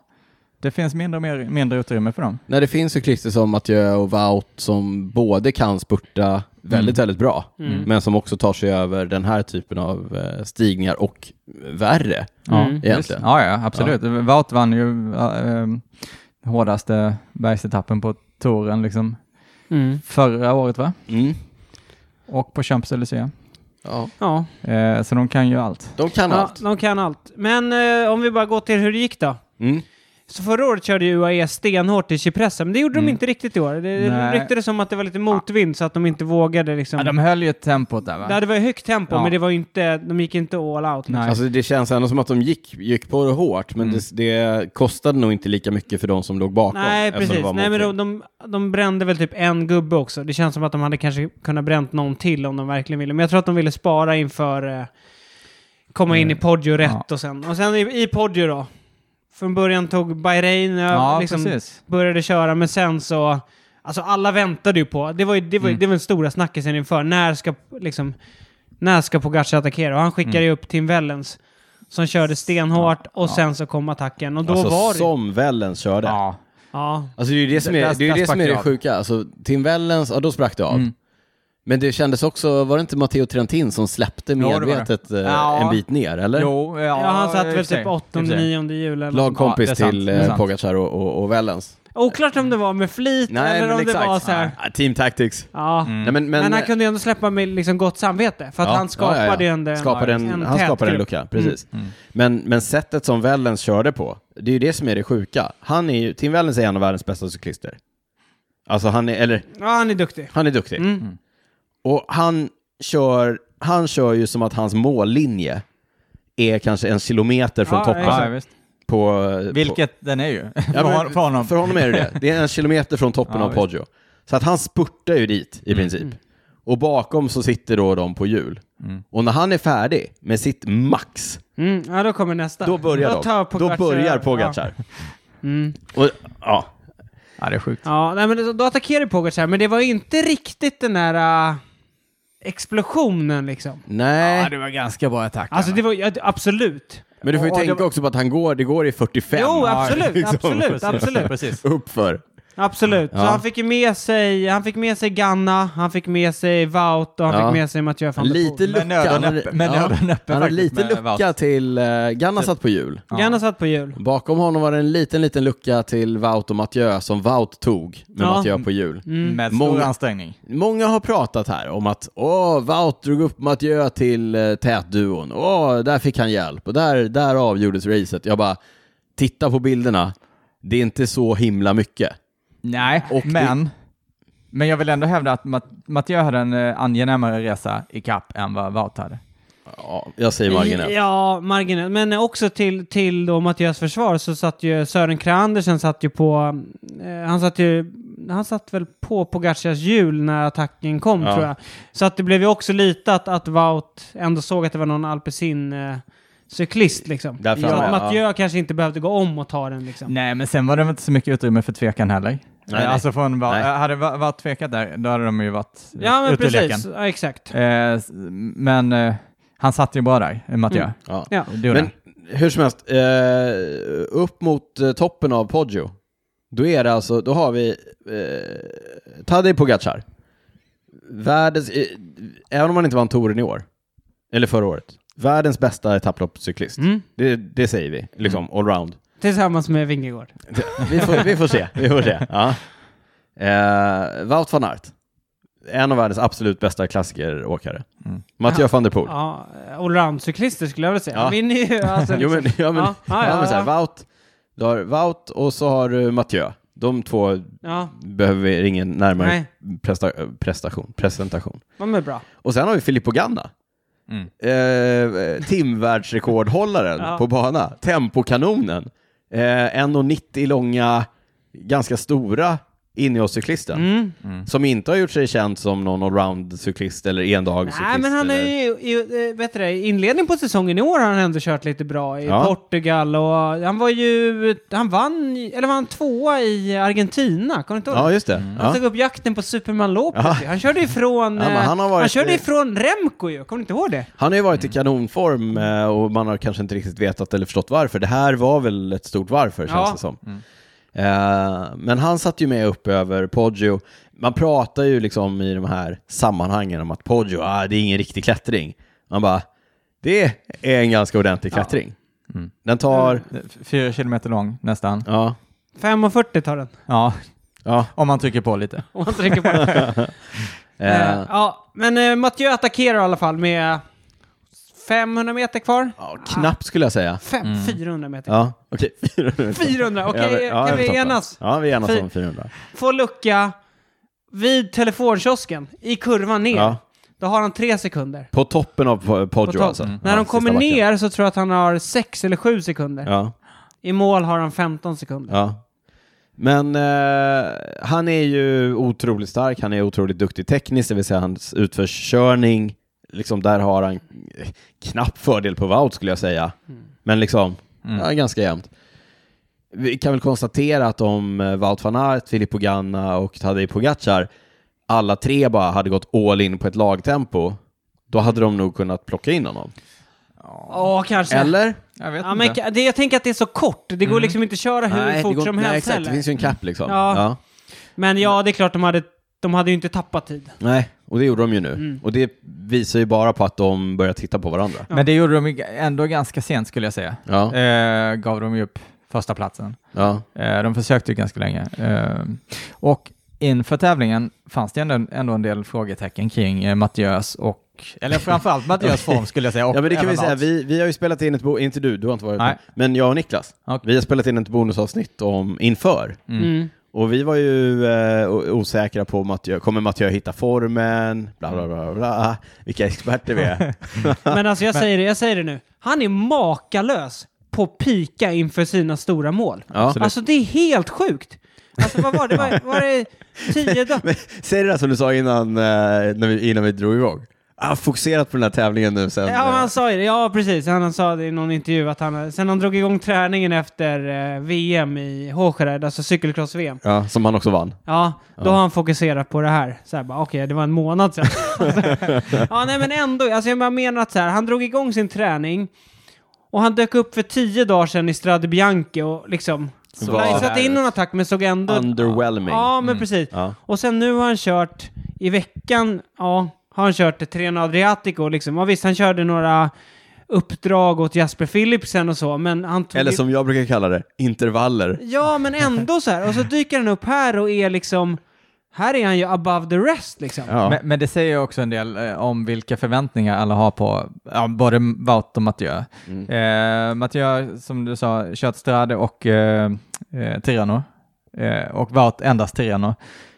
S3: det finns mindre och mer, mindre utrymme för dem.
S1: När det finns cyklister som Mathieu och Wout som både kan spurta väldigt, väldigt bra,
S2: Mm.
S1: men som också tar sig över den här typen av eh, stigningar och värre.
S3: Ja,
S2: Mm.
S1: Egentligen.
S3: Ja, ja absolut. Wout vann ju äh, hårdaste bergsetappen på touren liksom
S2: Mm.
S3: förra året va?
S1: Mm.
S3: Och på Champs-Élysées.
S1: Ja.
S2: Ja,
S3: Eh, så de kan ju allt.
S1: De kan
S2: ja
S1: allt.
S2: de kan allt. Men eh, om vi bara går till hur det gick då.
S1: Mm.
S2: Så förra året körde ju UAE stenhårt i Cypressen, men det gjorde de
S3: Mm.
S2: inte riktigt i år. Det
S3: Nej.
S2: ryktades som att det var lite motvind så att de inte vågade liksom...
S3: Ja, de höll ju tempot där va?
S2: Ja, det var ju högt tempo,
S3: Ja.
S2: men det var ju inte, de gick inte all out. liksom.
S3: Nej.
S1: Alltså det känns ändå som att de gick, gick på det hårt, men
S3: Mm.
S1: det, det kostade nog inte lika mycket för de som låg bakom.
S2: Nej,
S1: eftersom det
S2: precis.
S1: var
S2: Nej, men
S1: motvind.
S2: de, de, de brände väl typ en gubbe också. Det känns som att de hade kanske kunnat bränt någon till om de verkligen ville. Men jag tror att de ville spara inför eh, komma in i
S1: Eh,
S2: Poggio rätt och sen. Och sen i, i Poggio då. Från början tog Bahrain,
S3: ja,
S2: ja, liksom,
S3: precis.
S2: började köra, men sen så... Alltså alla väntade ju på... Det var ju, det var, ju-
S3: Mm.
S2: det var den stora snackisen inför. När ska, liksom, när ska Pogacar attackera? Och han skickade
S1: Mm.
S2: ju upp Tim Wellens som körde stenhårt och sen så kom attacken. Och då
S1: alltså,
S2: var det...
S1: som Wellens körde.
S3: Ja.
S2: Ja.
S1: Alltså det är ju det som är
S3: Där-
S1: det, är ju
S3: där
S1: det, som
S3: sprack
S1: är det
S3: det av.
S1: sjuka. Alltså, Tim Wellens, ja då sprack det av.
S3: Mm.
S1: Men det kändes också, var det inte Matteo Trentin som släppte
S3: det var det.
S1: medvetet eh,
S3: Ja.
S1: en bit ner, eller?
S3: Jo, ja,
S2: Ja, han satt
S3: i och
S2: väl
S3: för sig.
S2: typ åttonde,
S3: I och för sig.
S2: nionde jul eller något.
S1: Lagkompis
S3: Ja, det är sant,
S1: till
S3: det är
S1: eh,
S3: sant.
S1: Pogacar och, och, och Wellens.
S2: Oklart om det var med flit
S1: Nej,
S2: eller
S1: men
S2: om
S1: exakt.
S2: det var så här.
S1: Ja, team Tactics.
S2: Ja.
S1: Nej,
S3: Mm.
S1: men, men,
S2: Men,
S3: eh,
S2: han kunde ju ändå släppa med liksom gott samvete för att
S1: Ja,
S2: han skapade
S1: ja, ja, ja.
S2: ändå en,
S1: skapade en, Han
S2: tät
S1: skapade en
S2: grupp. Mm.
S1: lucka, precis. Men, men sättet som Wellens körde på, det är ju det som är det sjuka. Han är ju, Tim Wellens är en av världens bästa cyklister. Alltså han är, eller
S2: Ja, han är duktig.
S1: han är duktig.
S2: Mm.
S1: Och han kör, han kör ju som att hans mållinje är kanske en kilometer från
S2: Ja,
S1: toppen.
S2: exakt.
S3: Ja, ja, visst.
S1: På, på,
S3: Vilket den är ju.
S1: Ja, men
S3: för honom.
S1: För honom är det det. Det är en kilometer från toppen
S3: Ja,
S1: av
S3: visst. Mm.
S1: Poggio. Så att han spurtar ju dit i princip. Och bakom så sitter då de på hjul.
S3: Mm.
S1: Och när han är färdig med sitt max,
S2: Mm. Ja, då kommer nästa.
S1: då börjar
S2: då tar
S1: de. Då
S2: Pogacar
S1: börjar
S2: över.
S1: Pogacar.
S2: Ja. Mm.
S1: Och, ja.
S3: Ja, det är sjukt.
S2: Ja, nej, men då- då attackerade Pogacar, men det var inte riktigt den där äh, explosionen liksom.
S1: Nej.
S3: det var ganska bra attack.
S2: Alltså det var ja, det- absolut.
S1: Men du får ju
S3: och det
S1: tänka
S3: var-
S1: också på att han går, det går i 45.
S2: Jo,
S3: ja,
S2: absolut,
S1: liksom,
S2: absolut, absolut.
S3: Precis.
S1: Uppför.
S2: Absolut.
S1: Ja.
S2: Så han fick ju med sig, han fick med sig Ganna, han fick med sig Wout och han
S1: Ja.
S2: fick med sig Mathieu van der Poel.
S1: Lite lucka.
S3: Med nöden
S1: Han-
S3: öppen- med
S1: ja.
S3: nöden öppen
S1: Han hade
S3: faktiskt
S1: lite
S3: med
S1: lucka
S3: Wout. Typ.
S1: till... eh, Ganna satt på hjul.
S2: Ganna satt på hjul.
S1: Bakom honom var det en liten, liten lucka till Wout och Mathieu som Wout tog med
S2: Ja.
S1: Mathieu på hjul.
S2: Mm.
S3: Med stor
S1: Många-
S3: ansträngning.
S1: Många har pratat här om att åh, Wout drog upp Mathieu till eh, tätduon. Åh, där fick han hjälp och där, där avgjordes racet. Jag bara, titta på bilderna. Det är inte så himla mycket.
S3: Nej,
S1: Och
S3: men... Men jag vill ändå hävda att Mat- Mattias hade en eh, angenämare resa i kapp än vad Wout hade.
S1: Ja, jag säger marginellt.
S2: Ja, marginellt. Men också till, till då Mattias försvar så satt ju Sören Kreandersen satt ju på... Eh, han satt ju... Han satt väl på Pogacias hjul när attacken kom
S1: Ja.
S2: tror jag. Så att det blev ju också lite att, att Wout ändå såg att det var någon alpecin eh, cyklist liksom.
S1: Där
S2: Så
S1: framme,
S2: att
S1: ja.
S2: Mathieu kanske inte behövde gå om och ta den liksom.
S3: Nej, men sen var det väl inte så mycket utrymme för tvekan heller.
S1: nej.
S3: Eh, Alltså från Wout,
S1: Nej.
S3: eh, hade Wout Wout tvekat där, då hade de ju varit eh,
S2: Ja, men
S3: ute ur leken.
S2: precis. Ja, exakt.
S3: Eh, s- Men eh, han satt ju bara där, eh, Mattias.
S1: Ja.
S2: Ja.
S3: Det gjorde
S1: Mm. Men hur som helst, eh, upp mot eh, toppen av Poggio, då är det alltså, då har vi eh, Tadej Pogacar. Världens, eh, även om han inte vann touren i år, eller förra året, världens bästa etapploppscyklist.
S2: Mm.
S1: Det, det säger vi, liksom allround.
S2: Tillsammans med Vingegård.
S1: Vi får, vi får se, vi får se. Ja. Eh, Wout van Aert, en av världens absolut bästa klassikeråkare.
S3: Mm.
S1: Mathieu van der Poel.
S2: Ja, allround-cyklister skulle jag vilja säga.
S1: Ja.
S2: Han vinner ju alltså...
S1: Jo men, ja, men,
S2: Ja, ja,
S1: ja, men så här,
S2: ja.
S1: Wout, du har Wout och så har du Mathieu. De två
S2: Ja,
S1: behöver vi ingen närmare
S2: nej.
S1: presta- prestation, presentation.
S2: De är bra.
S1: Och sen har vi Filippo Ganna.
S4: Mm.
S1: Eh, timvärldsrekordhållaren
S2: Ja.
S1: på bana. Tempokanonen. Eh, 1,90 långa, ganska stora inneårscyklisten.
S2: Mm.
S1: Som inte har gjort sig känd som någon allround-cyklist eller endagscyklist.
S2: Nej, men han är
S1: eller...
S2: ju, ju eh, vet du det, i inledningen på säsongen i år har han ändå kört lite bra i
S1: Ja.
S2: Portugal och han var ju, han vann, ju- eller var han tvåa i Argentina? Kommer du inte ihåg
S1: Ja,
S2: det?
S1: just det.
S2: Han
S1: Ja.
S2: tog upp jakten på Superman Lopez.
S1: Ja.
S2: ju. Han körde ifrån,
S1: Ja, men
S2: eh,
S1: han har varit,
S2: han körde
S1: eh,
S2: ifrån Remco ju, kommer du inte ihåg det?
S1: Han har ju
S2: Mm.
S1: varit i kanonform eh, och man har kanske inte riktigt vetat eller förstått varför. Det här var väl ett stort varför känns
S2: Ja. Mm.
S1: det som. Eh, Men han satt ju med upp över Poggio. Man pratar ju liksom i de här sammanhangen om att Poggio, ah, det är ingen riktig klättring. Man bara, det är en ganska ordentlig klättring.
S4: Mm.
S1: Den tar,
S3: Fyra kilometer lång nästan.
S1: ja,
S2: 5.40 tar den.
S3: Ja,
S1: ja.
S3: om man trycker på lite.
S2: Om man trycker på den.
S1: eh,
S2: Eh, Ja, men eh, Mathieu attackerar i alla fall med 500 meter kvar.
S1: ja, knappt skulle jag säga.
S2: Fem, 400 meter.
S1: Mm. Ja, okej. 400.
S2: 400, okej, kan vi
S1: toppen.
S2: enas?
S1: Ja, vi enas
S2: Fy-
S1: om 400.
S2: Få lucka vid telefonkiosken, i kurvan ner.
S1: Ja.
S2: Då har han tre sekunder.
S1: På toppen av Po-
S2: på
S1: Poggio
S2: topp.
S1: alltså.
S2: När
S1: Ja,
S2: de kommer
S1: sista backen.
S2: ner så tror jag att han har sex eller sju sekunder.
S1: Ja.
S2: I mål har han 15 sekunder.
S1: Ja. Men eh, han är ju otroligt stark, han är otroligt duktig tekniskt, det vill säga hans utförskörning, liksom där har han eh, knapp fördel på Wout skulle jag säga.
S2: Mm.
S1: Men liksom, ja, ganska jämnt. Vi kan väl konstatera att om eh, Wout van Aert, Filippo Ganna och Tadej Pogacar alla tre bara hade gått all in på ett lagtempo, då hade de nog kunnat plocka in honom.
S2: Ja, kanske.
S1: Eller?
S3: Jag vet
S2: Ja, men ka- det, jag tänker att det är så kort. Det går liksom inte att köra hur
S1: det
S2: fort
S1: går-
S2: som
S1: nej,
S2: helst
S1: exakt, det
S2: heller.
S1: finns ju en cap liksom.
S2: Ja.
S1: Ja.
S2: Men ja, det är klart de hade, de hade ju inte tappat tid.
S1: Nej, och det gjorde de ju nu.
S2: Mm.
S1: Och det visar ju bara på att de börjar titta på varandra.
S3: Men det gjorde de ju ändå ganska sent skulle jag säga.
S1: Ja,
S3: Eh, gav de ju upp första platsen.
S1: ja,
S3: Eh, de försökte ju ganska länge. Eh, och inför tävlingen fanns det ändå, ändå en del frågetecken kring eh, Mattias och, eller framförallt Mattias form skulle jag säga. Och
S1: ja men det kan
S3: även
S1: vi säga.
S3: Mats.
S1: Vi, vi har ju spelat in ett, bo- inte du, du har inte varit
S3: Nej.
S1: med, men jag och Niklas,
S3: Okej.
S1: vi har spelat in ett bonusavsnitt om inför.
S3: Mm.
S2: Mm.
S1: Och vi var ju eh, o- osäkra på om Mattias, kommer Mattias hitta formen, bla bla bla, bla. vilka experter vi är.
S2: Men alltså jag säger det, jag säger det nu. Han är makalös på pika inför sina stora mål.
S1: Ja.
S2: Alltså det är helt sjukt. Alltså vad var det? Var, var det tio dagar?
S1: Men, säg det där som du sa innan, eh, när vi, innan vi drog igång. Ah, fokuserat på den här tävlingen nu sen.
S2: Ja, men
S1: eh,
S2: han sa ju det. Ja, precis. Han sa det i någon intervju att han, sen han drog igång träningen efter eh, VM i Hågered, alltså cykelcross-VM,
S1: ja, som han också vann.
S2: ja, då har han fokuserat på det här. Så här bara, okej, det var en månad sedan. ja, nej, men ändå. Alltså, jag bara menar att så här, han drog igång sin träning och han dök upp för tio dagar sedan i Strade Bianche och liksom...
S1: Så
S2: Nej,
S1: var-
S2: satte in någon attack, men såg ändå...
S1: Underwhelming.
S2: Ja, men precis.
S1: Mm. Ja.
S2: Och sen nu har han kört i veckan, ja, har han kört Treno Adriatico liksom. Ja, visst, han körde några uppdrag åt Jasper Philipsen och så, men han tog
S1: Eller
S2: ju-
S1: som jag brukar kalla det, intervaller.
S2: Ja, men ändå så här. Och så dyker han upp här och är liksom... Här är han ju above the rest liksom.
S1: Ja.
S3: Men, men det säger ju också en del eh, om vilka förväntningar alla har på ja, både Wout och Mathieu.
S1: Mm.
S3: Eh, Mathieu, som du sa, kört Strade och eh, eh, Tirano. Eh, och Wout endast Tirano.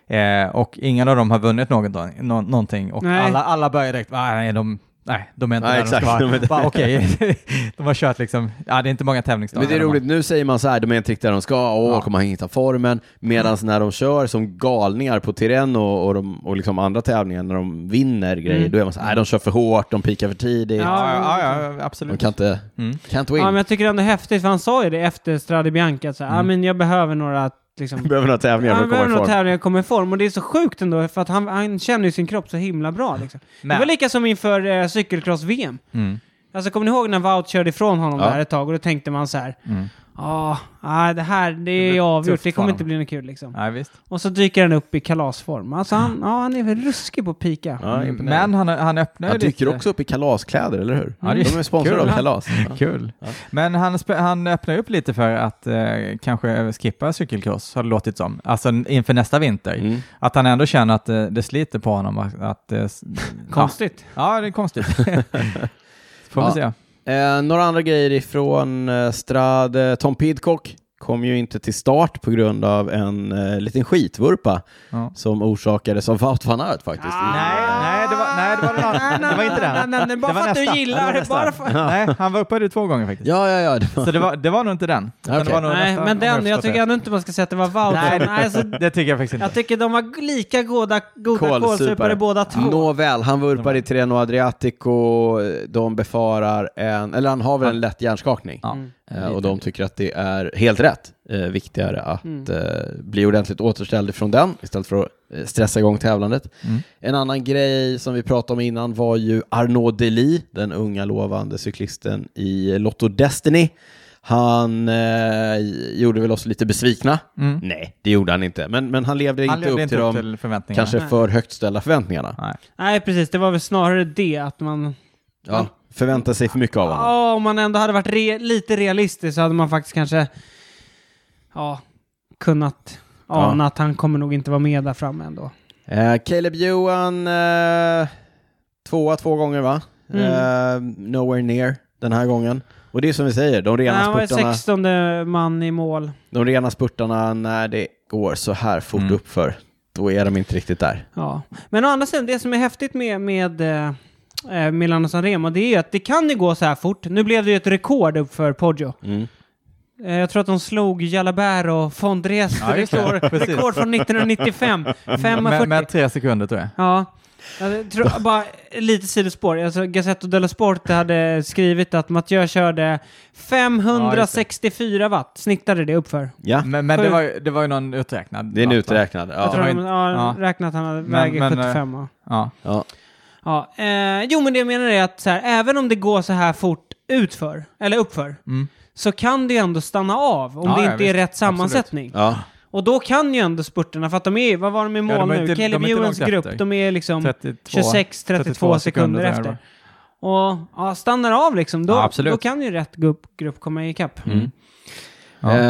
S3: Eh, och ingen av dem har vunnit något, nå, någonting. Och
S2: Nej.
S3: alla, alla börjar direkt, "Ah, nej, de, nej, de är inte
S1: Nej,
S3: där
S1: exakt,
S3: de
S1: de är
S3: ska
S1: inte-
S3: vara. Bara, Okej, de har kört liksom, ja, det är inte många tävlingsdagar.
S1: Men det är
S3: de har.
S1: roligt, nu säger man så här, de är inte riktigt där de ska, åh,
S3: Ja.
S1: kommer han hitta formen? Medan när de kör som galningar på Tirreno och, och, de, och liksom andra tävlingar, när de vinner grejer,
S2: Mm.
S1: då är man så här, "Nej, de kör för hårt, de pikar för tidigt,
S2: Ja,
S3: Ja, ja, ja,
S1: de
S3: absolut.
S1: kan inte,
S3: Mm.
S1: can't win.
S2: Ja, men jag tycker ändå häftigt, för han sa ju det efter Strade Bianca, att så här, ah, men jag behöver några liksom...
S1: Behöver några tävlingar för att
S2: Han
S1: komma
S2: behöver
S1: i
S2: nog
S1: form.
S2: tävlingar och komma i form och det är så sjukt ändå för att han, han känner ju sin kropp så himla bra. Liksom. Det
S3: Men-
S2: var lika som inför eh, cykelcross-VM.
S3: Mm.
S2: Alltså kommer ni ihåg när Wout körde ifrån honom
S1: Ja.
S2: där ett tag och då tänkte man så här,
S3: Mm.
S2: ja, nej, det här det är
S3: blir
S2: avgjort,
S3: tufft
S2: det kommer
S3: för
S2: inte bli något kul liksom.
S3: Nej, visst.
S2: Och så dyker han upp i kalasform. Alltså han, ja, han är väl ruskig på att pika.
S1: Ja, imponerande.
S3: Men han, han öppnar ju
S1: Mm. han dyker
S3: lite-
S1: också upp i kalaskläder, eller hur?
S3: Ja, det är
S1: de är sponsrade
S3: kul.
S1: av kalas. Ja.
S3: Kul. Men han, spe- han öppnar upp lite för att eh, kanske skippa cykelkross, har det låtit som. Alltså n- inför nästa vinter.
S1: Mm.
S3: Att han ändå känner att eh, det sliter på honom. Att, att, eh, s-
S2: Konstigt.
S3: Ja, det är konstigt. Får vi
S1: Ja.
S3: se.
S1: Eh, några andra grejer ifrån eh, Strad, eh, Tom Pidcock kom ju inte till start på grund av en eh, liten skitvurpa
S3: Ja.
S1: som orsakades av Wout van Aert faktiskt.
S3: Nej, nej, det var, nej, det var, den andra. det var inte
S2: Nej,
S3: den.
S2: nej, nej, bara
S3: Det var
S2: för att du
S3: nästa.
S2: gillar
S3: Det var
S2: det,
S3: nästa.
S2: bara för-
S3: Nej, han var upphöjd två gånger faktiskt.
S1: Ja, ja, ja. det var-
S3: Så det var, det var nog inte den. Utan
S1: Okej.
S3: Det var nog
S2: Nej,
S3: nästa,
S2: men
S3: om
S2: den,
S3: har
S2: jag
S3: förstått
S2: tycker
S3: rätt.
S2: ändå inte man ska säga att det var Wout.
S3: Nej,
S2: Nej, alltså,
S3: Det tycker jag faktiskt
S2: jag
S3: inte.
S2: tycker de var lika goda, goda kålsupare båda två.
S1: Nåväl, han vurpar i Treno Adriatico. De befarar en, eller han har väl en lätt hjärnskakning.
S3: Ja.
S2: Mm.
S1: Eh, Och de tycker att det är helt rätt eh, viktigare att
S3: Mm.
S1: eh, bli ordentligt återställd från den istället för att eh, stressa igång tävlandet.
S3: Mm.
S1: En annan grej som vi pratade om innan var ju Arnaud Deli, den unga lovande cyklisten i Lotto Destiny. Han eh, gjorde väl oss lite besvikna.
S3: Mm.
S1: Nej, det gjorde han inte. Men, men han levde
S3: Han
S1: inte
S3: levde
S1: upp
S3: inte
S1: till
S3: upp
S1: de
S3: till förväntningarna.
S1: kanske
S2: Nej.
S1: för högt ställda förväntningarna.
S3: Nej.
S2: Nej, precis. Det var väl snarare det att man...
S1: Ja, förväntar sig för mycket av honom.
S2: Ja, om man ändå hade varit re, lite realistisk så hade man faktiskt kanske... Ja, kunnat
S1: Ja.
S2: ana att han kommer nog inte vara med där framme ändå.
S1: Eh, Caleb Ewan, eh, tvåa två gånger va?
S2: Mm.
S1: Eh, nowhere near den här gången. Och det är som vi säger, de
S2: Nej,
S1: rena,
S2: han var ju
S1: spurtarna,
S2: 16 man i mål.
S1: de rena spurtarna när det går så här fort
S3: Mm.
S1: uppför, då är de inte riktigt där.
S2: Ja. Men å andra sidan, det som är häftigt med, med eh, eh, Milano Sanremo, det är ju att det kan ju gå så här fort. Nu blev det ju ett rekord upp för Poggio.
S1: Mm.
S2: Eh, Jag tror att de slog Jalabert och Fondres
S3: Ja, just det.
S2: rekord,
S3: Precis.
S2: rekord från 1995. 5.40.
S3: Med, med tre sekunder tror jag.
S2: Ja. Jag tror, bara lite sidospår. Alltså, Gazzetto dello Sport hade skrivit att Mathieu körde 564 watt, snittade det uppför.
S1: Ja,
S3: Men, men det, var, ju- det var ju någon uträknad.
S1: Mm. det är en
S3: data.
S1: uträknad.
S2: Jag tror
S1: Ja.
S3: var
S2: de
S3: inte-
S2: ja,
S3: ja.
S2: räknat att han hade
S3: Men-
S2: väger
S3: men, eh,
S2: 75. va.
S3: Ja.
S1: Ja.
S2: Ja. Eh, jo, men det jag menar är att så här, även om det går så här fort utför, eller uppför,
S3: Mm.
S2: så kan det ju ändå stanna av om
S3: Ja,
S2: det
S3: ja,
S2: inte är
S3: visst.
S2: rätt sammansättning.
S1: Ja.
S2: Och då kan ju ändå spurterna, för att de är vad var de i mål
S3: de är
S2: nu?
S3: inte-
S2: Caleb
S3: de är inte
S2: Ewans
S3: långt
S2: grupp,
S3: efter.
S2: de är liksom
S3: 32,
S2: 26-32 sekunder
S3: tror jag det
S2: efter.
S3: var.
S2: Och ja, stannar av liksom, då,
S3: Ja, absolut.
S2: då kan ju rätt grupp, grupp komma ikapp.
S1: Mm.
S3: Ja.
S1: Eh,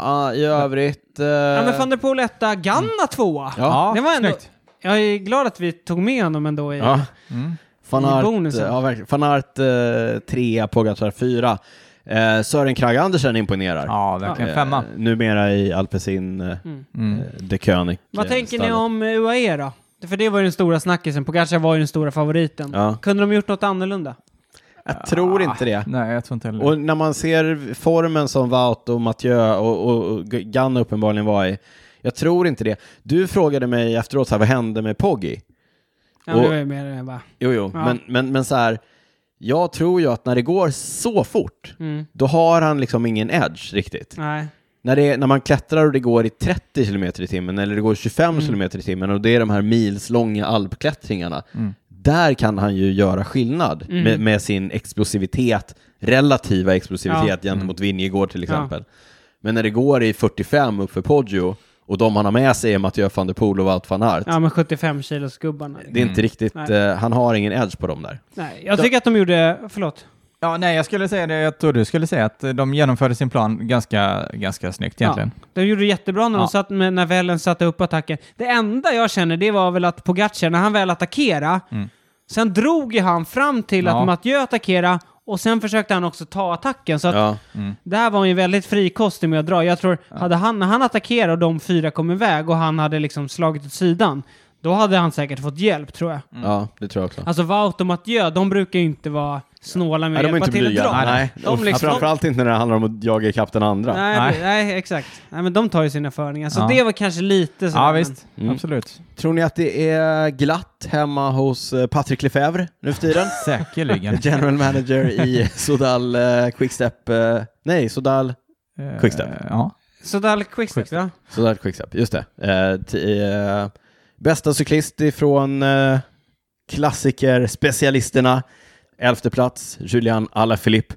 S1: ja, I övrigt... eh,
S2: Ja, men van der Poel etta, Ganna tvåa.
S1: Ja.
S2: det var ändå,
S3: Mm. snyggt.
S2: jag är glad att vi tog med honom ändå i...
S1: Ja.
S3: Mm.
S1: Van
S2: I
S1: Aert,
S2: bonusen.
S1: ja, verkligen. Van Aert eh, trea, Pogacar fyra. Eh, Sören Kragh Andersen imponerar.
S3: Ja, verkligen.
S1: Eh,
S3: Femma.
S1: Numera i Alpecin eh,
S3: Mm.
S1: eh, de König.
S2: Vad
S1: eh,
S2: tänker ni
S1: stallet.
S2: om UAE då? För det var ju den stora snackisen, Pogacar var ju den stora favoriten.
S1: Ja.
S2: Kunde de gjort något annorlunda?
S1: Jag tror inte det.
S3: Nej, jag tror inte heller
S1: Och när man ser formen som Wout och Mathieu och, och, och Gann uppenbarligen var i, jag tror inte det. Du frågade mig efteråt, så här, vad hände med Poggi?
S2: Ja, men
S1: Och-
S2: det var ju mer det va?
S1: Jo, jo,
S2: Ja.
S1: men, men, men så här, jag tror ju att när det går så fort,
S2: Mm.
S1: då har han liksom ingen edge riktigt.
S2: Nej.
S1: När, det, när man klättrar och det går i 30 km i timmen eller det går 25
S2: Mm.
S1: km i timmen och det är de här milslånga alpklättringarna,
S3: Mm.
S1: där kan han ju göra skillnad
S2: Mm.
S1: med, med sin explosivitet, relativa explosivitet gentemot Vingegård till
S2: Mm. Ja.
S1: exempel. Men när det går i 45 uppför Poggio och de han har med sig är Mathieu van der Poel och Wout van Aert,
S2: Ja, men 75 kilos gubbarna.
S1: det är inte riktigt,
S2: Nej.
S1: eh, han har ingen edge på dem där.
S2: Nej, jag tycker att de gjorde... Förlåt.
S3: Ja, nej, jag skulle säga det. Jag tror du skulle säga att eh, de genomförde sin plan ganska, ganska snyggt egentligen.
S2: Ja, de gjorde jättebra när, de
S3: Ja.
S2: satt med, när välen satte upp attacken. Det enda jag känner det var väl att Pogacar, när han väl attackerade,
S1: Mm.
S2: sen drog ju han fram till
S3: Ja.
S2: att Mathieu attackerade och sen försökte han också ta attacken. Så att
S1: Ja.
S2: där var han ju väldigt frikostig med att dra. Jag tror, hade han, när han attackerade och de fyra kom iväg och han hade liksom slagit åt sidan, då hade han säkert fått hjälp tror jag.
S1: ja, det tror jag också.
S2: Alltså Wout och Mathieu, de brukar ju inte vara snåla med
S1: Nej,
S2: att
S1: de är
S2: hjälpa
S1: inte
S2: till att
S1: blyga.
S2: dra.
S1: Nej,
S2: De
S1: Och
S2: liksom-
S1: Framförallt inte när det handlar om att jaga ikapp den andra.
S2: Nej,
S3: Nej.
S2: nej. exakt. Nej, men de tar ju sina förningar. Så
S3: Ja.
S2: det var kanske lite så.
S3: Ja,
S2: men-
S3: visst.
S1: Mm.
S3: Absolut.
S1: Tror ni att det är glatt hemma hos eh, Patrick Lefebvre nu för tiden?
S3: Säkerligen.
S1: General manager i Sodal eh, Quickstep. eh, nej, Sodal...
S3: Eh,
S1: Quickstep.
S3: Ja.
S2: Så där quickstep,
S3: Quickstep.
S2: ja.
S1: Sodal Quickstep, just det. Eh, t- eh, bästa cyklist ifrån eh, klassikerspecialisterna. Elfte plats, Julian Alaphilippe.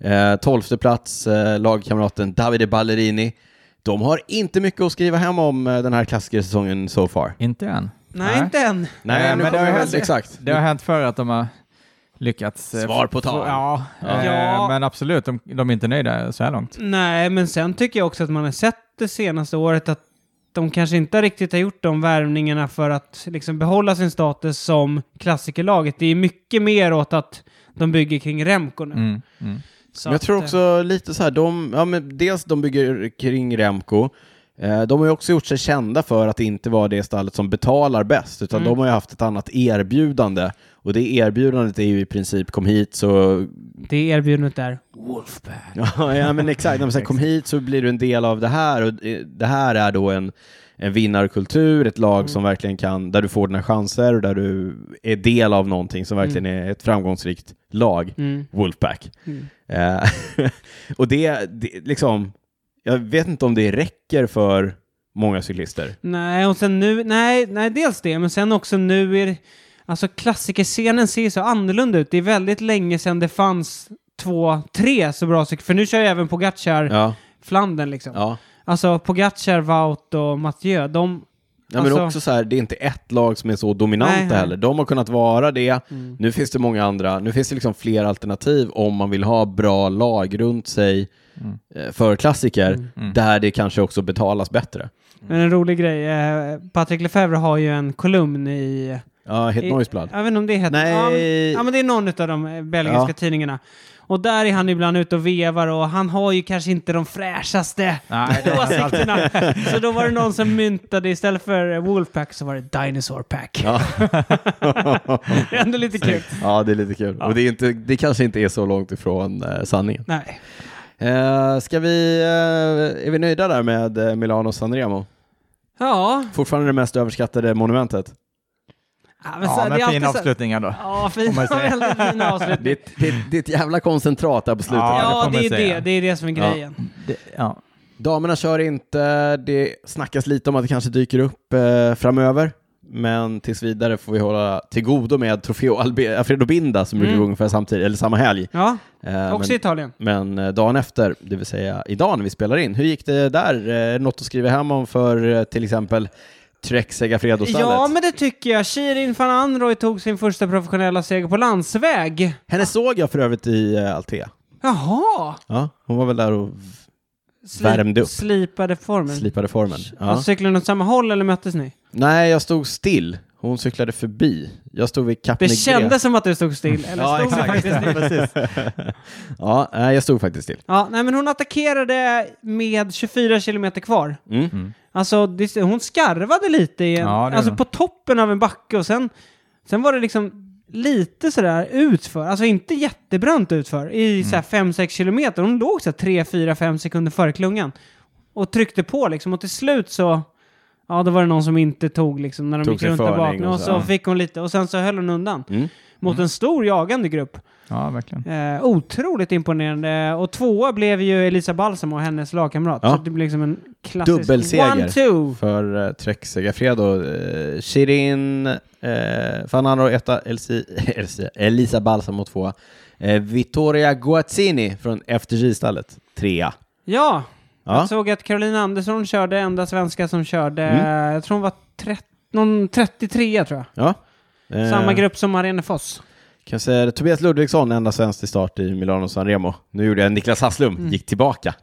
S1: Eh, tolfte plats, eh, lagkamraten Davide Ballerini. De har inte mycket att skriva hem om eh, den här klassikersäsongen so far.
S3: Inte än.
S2: Nej, inte än.
S1: Nej,
S3: Nej,
S1: nu
S3: men
S1: kommer
S3: det har
S1: jag
S3: hänt.
S1: exakt.
S3: Det har hänt förr att de har lyckats... eh,
S1: Svar på tal.
S3: Ja, eh,
S2: Ja.
S3: men absolut. De, de är inte nöjda så här långt.
S2: Nej, men sen tycker jag också att man har sett det senaste året att de kanske inte riktigt har gjort de värvningarna för att liksom behålla sin status som klassikerlaget. Det är mycket mer åt att de bygger kring Remco nu.
S3: Mm, mm.
S2: Så
S1: Men jag tror
S2: att, eh,
S1: också lite så här, de, ja, men dels de bygger kring Remco, eh, de har ju också gjort sig kända för att inte vara det stallet som betalar bäst, utan
S2: Mm.
S1: de har ju haft ett annat erbjudande. Och det erbjudandet är ju i princip kom hit så...
S2: eh, Det erbjudandet där. Wolfpack.
S1: Ja, ja men exakt. Nej, men så här, kom hit så blir du en del av det här och eh, det här är då en, en vinnarkultur, ett lag
S2: Mm.
S1: som verkligen kan, där du får dina chanser och där du är del av någonting som verkligen är ett framgångsrikt lag.
S2: Mm.
S1: Wolfpack.
S2: Mm.
S1: Eh, och det, det, liksom, jag vet inte om det räcker för många cyklister.
S2: Nej, och sen nu, nej, nej, dels det, men sen också nu är det- alltså klassikerscenen ser ju så annorlunda ut. Det är väldigt länge sedan det fanns två, tre så bra cyklister, för nu kör ju även Pogacar
S1: Ja,
S2: Flandern liksom.
S1: ja.
S2: Alltså Pogacar, Wout och Mathieu, de...
S1: ja men
S2: Alltså-
S1: också så här, det är inte ett lag som är så dominanta
S2: Nej, Mm. nej.
S1: heller. De har kunnat vara det. Nu finns det många andra. Nu finns det liksom fler alternativ om man vill ha bra lag runt sig
S2: Mm.
S1: eh, för klassiker, där det kanske också betalas bättre.
S2: Men en rolig grej, eh, Patrick Lefebvre har ju en kolumn i...
S1: Ja, helt
S2: i-
S1: Noiseblad.
S2: Jag vet inte om det heter...
S1: Nej.
S2: Ja, men- Ja, men det är någon av de eh, belgiska
S1: Ja.
S2: tidningarna. Och där är han ibland ute och vevar och han har ju kanske inte de fräschaste
S3: Nej, det är alltid-
S2: åsikterna. Så då var det någon som myntade, istället för eh, Wolfpack så var det Dinosaur Pack.
S1: Ja.
S2: Det är ändå lite kul.
S1: ja, det är lite kul. Och det, är inte, det kanske inte är så långt ifrån eh, sanningen.
S2: Nej.
S1: Eh, ska vi, eh, är vi nöjda där med eh, Milano Sanremo?
S2: Ja,
S1: Fortfarande det mest överskattade monumentet.
S2: ja men, så,
S3: Ja,
S2: det är
S3: men
S2: alltid
S3: fina
S2: så...
S3: avslutningar då.
S2: Ja,
S3: Om
S2: fina,
S3: man säger.
S2: väldigt fina avslut.
S1: Det är ett, det är ett- det är ett jävla koncentrat där på slutet.
S3: Ja, det
S2: Ja,
S3: får
S2: det
S3: man
S2: är
S3: säga.
S2: det. Det är det som är
S1: Ja.
S2: grejen.
S3: Det, ja.
S1: Damerna kör inte, det snackas lite om att det kanske dyker upp eh, framöver. Men tills vidare får vi hålla till godo med Trofeo Albe- Alfredo Binda som brukar
S2: Mm.
S1: gå ungefär samtidigt, eller samma helg.
S2: Ja,
S1: Eh,
S2: också Italien.
S1: men, men eh, dagen efter, det vill säga idag när vi spelar in, hur gick det där? Eh, är det Något att skriva hem om för eh, till exempel Trek Segafredo-stallet?
S2: Ja, men det tycker jag. Shirin van Anrooy tog sin första professionella seger på landsväg.
S1: Henne såg jag för övrigt i eh, Altea.
S2: Jaha!
S1: Ja, hon var väl där och Värmde upp.
S2: Slipade formen.
S1: slipade formen.
S2: Alltså,
S1: Ja.
S2: cyklade ni åt samma håll eller möttes ni?
S1: Nej, jag stod still. Hon cyklade förbi. Jag stod vid Kap
S2: Det
S1: Negré.
S2: kändes som att du stod still, eller
S1: Ja,
S2: stod du
S1: exakt.
S2: faktiskt still?
S1: Ja, nej, jag stod faktiskt still.
S2: Ja, nej men hon attackerade med 24 kilometer kvar.
S1: Mm.
S2: Alltså, det, hon skarvade lite i en,
S3: Ja, det
S2: alltså
S3: gjorde
S2: på toppen av en backe och sen, sen var det liksom lite sådär utför, alltså inte jättebrant utför, i
S1: Mm.
S2: såhär 5-6 kilometer. Hon låg såhär 3-4-5 sekunder före klungan och tryckte på liksom och till slut så, ja då var det någon som inte tog liksom när de
S1: Tog
S2: gick
S1: sin
S2: runt där bak
S1: förning och
S2: och
S1: så,
S2: så
S1: ja.
S2: fick hon lite och sen så höll hon undan
S1: Mm.
S2: mot en stor jagande grupp.
S3: ja, verkligen.
S2: Eh, otroligt imponerande. Och tvåa blev ju Elisa Balsamo och hennes lagkamrat.
S1: Ja.
S2: Så det blev liksom en klassisk...
S1: Dubbelseger.
S2: One, two!
S1: För eh, Trek Segafredo, eh, Shirin, eh, Fanano etta, Elsi, Elsi, Elisa Balsamo tvåa, eh, Vittoria Guazzini från FTG-stallet trea.
S2: Ja,
S1: Ja.
S2: jag såg att Carolina Andersson körde, enda svenska som körde,
S1: Mm.
S2: eh, jag tror hon var 30, någon 33 tror jag.
S1: Ja. Eh,
S2: Samma grupp som Marianne Foss.
S1: Kan säga det. Tobias Ludvigsson, enda svensk till start i Milano Sanremo. Nu gjorde jag Niklas Hasslum,
S2: Mm.
S1: gick tillbaka.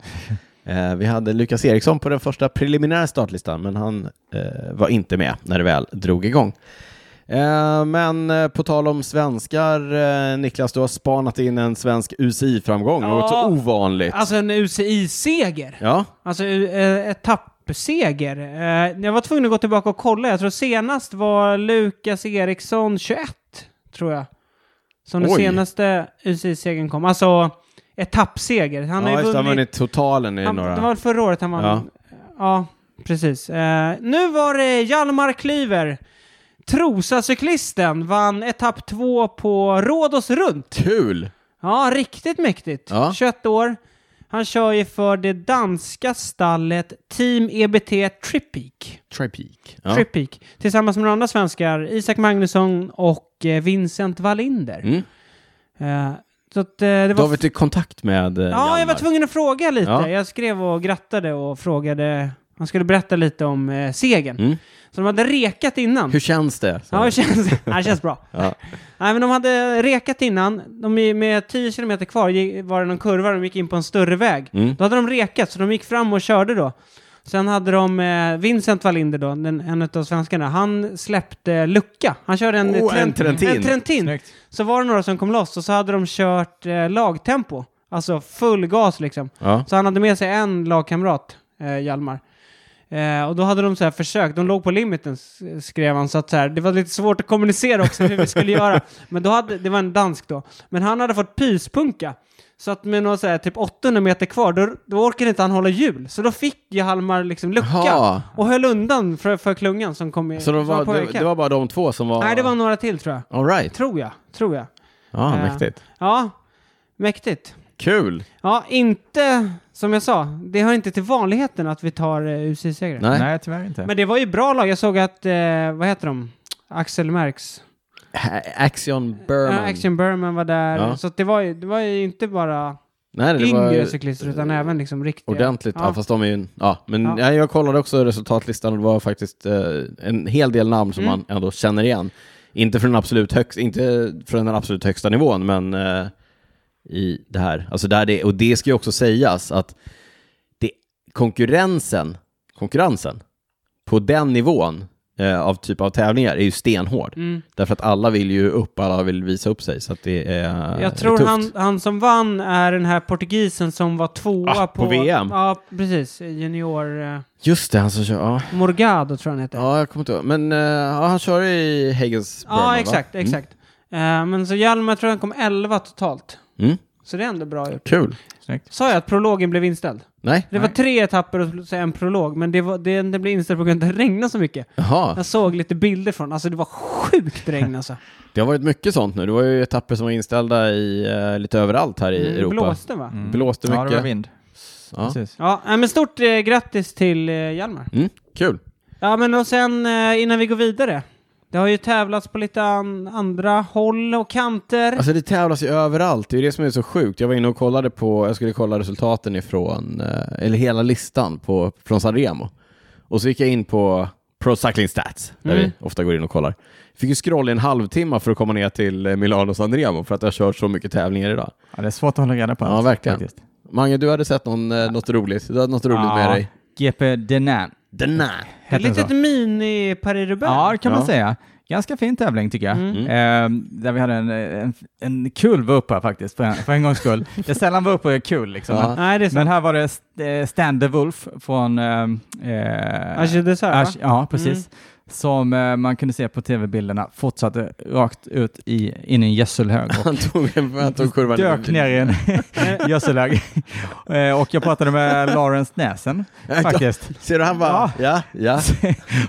S1: Eh, vi hade Lukas Eriksson på den första preliminära startlistan, men han eh, var inte med när det väl drog igång. Eh, men eh, på tal om svenskar, eh, Niklas, du har spanat in en svensk UCI-framgång,
S2: Ja.
S1: något så ovanligt.
S2: Alltså en UCI-seger.
S1: Ja,
S2: Alltså eh, etappseger. Eh, jag var tvungen att gå tillbaka och kolla. Jag tror senast var Lukas Eriksson 21, tror jag. Som den
S1: Oj.
S2: senaste UCI-segern kom. Alltså etappseger. Han
S1: ja
S2: har ju
S1: just det, han
S2: vunnit...
S1: har vunnit totalen i
S2: han,
S1: några.
S2: Det var väl förra året han vann?
S1: Ja.
S2: Ja, precis. Eh, nu var det Hjalmar Klyver. Trosa-cyklisten vann etapp två på Rhodos runt.
S1: Kul!
S2: Ja, riktigt mäktigt.
S1: Ja.
S2: 21 år. Han kör ju för det danska stallet Team E EBT Trippeak.
S1: Tripeak. Ja.
S2: Trippeak. Tillsammans med några andra svenskar, Isak Magnusson och eh, Vincent Wallinder.
S1: Mm.
S2: Eh, så att, eh, det
S1: Du
S2: var
S1: har varit i kontakt med eh,
S2: Ja, jag var
S1: Hjalmar.
S2: tvungen att fråga lite.
S1: Ja.
S2: Jag skrev och grattade och frågade. Han skulle berätta lite om eh, segern.
S1: Mm.
S2: Så de hade rekat innan.
S1: Hur känns det?
S2: Ja, det känns, ja, det känns bra.
S1: Ja.
S2: Nej, men de hade rekat innan. De, är- med 10 kilometer kvar gi- var det någon kurva de gick in på en större väg.
S1: Mm.
S2: Då hade de rekat, så de gick fram och körde då. Sen hade de eh, Vincent Wallinder då, den, en av svenskarna. Han släppte lucka. Han körde en,
S1: Oh, en Trentin.
S2: En trentin.
S3: Snyggt.
S2: Så var det några som kom loss och så hade de kört eh, lagtempo. Alltså full gas liksom.
S1: Ja.
S2: Så han hade med sig en lagkamrat, eh, Hjalmar. Eh, och då hade de så här försökt, de låg på limiten s- skrev han, så att så här, det var lite svårt att kommunicera också hur vi skulle göra. Men då hade, det var en dansk då, men han hade fått pyspunka. Så att med några så här, typ 800 meter kvar, då, då orkade inte han hålla hjul. Så då fick ju Hjalmar liksom lucka
S1: Jaha.
S2: och höll undan för, för klungan som kom i,
S1: Så det
S2: som
S1: var,
S2: på
S1: det,
S2: väg
S1: det var bara de två som var...
S2: Nej, det var några till tror jag.
S1: All right.
S2: Tror jag, tror jag.
S1: Ja,
S2: Eh.
S1: mäktigt.
S2: Ja, mäktigt.
S1: Kul!
S2: Ja, inte som jag sa. Det hör inte till vanligheten att vi tar eh, UC-segrar.
S1: Nej.
S3: Nej, tyvärr inte.
S2: Men det var ju bra lag. Jag såg att, eh, vad heter de? Axel Merks.
S1: A- Axion Berman.
S2: Berman. Action Berman var där.
S1: Ja.
S2: Så att det, var ju, det var ju inte bara
S1: Nej, det
S2: yngre
S1: var eh,
S2: cyklister utan även liksom riktiga.
S1: ordentligt. Ja.
S2: Ja.
S1: fast de är ju... Ja, men
S2: Ja.
S1: Nej, jag kollade också resultatlistan och det var faktiskt eh, en hel del namn som
S2: Mm.
S1: man ändå känner igen. Inte från, den absolut högst, inte från den absolut högsta nivån, men eh, i det här. Alltså där det, och det ska ju också sägas att det, konkurrensen, konkurrensen på den nivån eh, av typ av tävlingar är ju stenhård.
S2: Mm.
S1: Därför att alla vill ju upp, alla vill visa upp sig. Så att det är
S2: Jag
S1: det är
S2: tror
S1: tufft.
S2: han, han som vann är den här portugisen som var tvåa
S1: Ah, på
S2: på,
S1: VM.
S2: Ja, precis. Junior eh,
S1: Just det, han som kör. Ja,
S2: Morgado tror jag han heter.
S1: ja jag kommer inte ihåg. Men eh, ja, han kör i Higgins
S2: ja, exakt,
S1: Mm.
S2: exakt. Eh, men så Hjalmar tror jag kom 11 totalt.
S1: Mm. Mm.
S2: Så det är ändå bra gjort.
S1: Kul.
S3: Snyggt.
S2: Sa jag att prologen blev inställd?
S1: Nej?
S2: Det var tre etapper och så en prolog, men det var, det, den blev inställd på grund av att det regnade så mycket.
S1: Jaha,
S3: Alltså.
S2: Jag såg lite bilder från, alltså det var sjukt regn alltså.
S1: det har varit mycket sånt nu. Det var ju etapper som var inställda i, eh, lite överallt här i
S2: Det
S1: Europa.
S2: blåste va?
S3: Mm.
S1: Blåste
S3: Ja, det var
S1: mycket.
S3: vind.
S1: Ja.
S3: Precis.
S2: Ja, äh, men stort eh, grattis till eh, Hjalmar.
S1: Mm. Kul.
S2: Ja, men och sen eh, innan vi går vidare. Det har ju tävlats på lite an, andra håll och kanter.
S1: Alltså det tävlas ju överallt, det är ju det som är så sjukt. Jag var inne och kollade på, jag skulle kolla resultaten ifrån, eh, eller hela listan på, från Sanremo. Och så gick jag in på Pro Cycling Stats, där
S2: Mm.
S1: vi ofta går in och kollar. Fick ju scrolla i en halvtimme för att komma ner till eh, Milano Sanremo för att jag har kört så mycket tävlingar idag.
S3: Ja, det är svårt att hålla reda på
S1: Ja,
S3: allt,
S1: verkligen.
S3: faktiskt.
S1: Mange, du hade sett någon, eh, något roligt. Du hade något roligt med
S3: Ja,
S1: dig.
S3: GP Denan.
S1: Den här.
S2: Ett
S3: heter den
S2: litet
S3: så.
S2: mini-Paris-Roubaix.
S3: Ja, det kan man
S1: Ja.
S3: säga. Ganska fin tävling tycker jag.
S2: Mm.
S3: Eh, där vi hade en, en, en kul vurpa faktiskt, för en, för en gångs skull. Det är sällan vurpor är kul liksom.
S1: Ja.
S2: Nej, det är
S3: Men
S2: sant.
S3: här var det St- eh, Stan de Wolf från... ehm, eh,
S2: Asche Dessert, va?
S3: Asch- ja, precis. Som eh, man kunde se på tv-bilderna fortsatte rakt ut i, in i en gödselhög och
S1: Han tog, han tog kurvan.
S3: dök ner i en gödselhög. Eh, och jag pratade med Lawrence Näsen faktiskt.
S1: Ser du, han bara, ja, ja.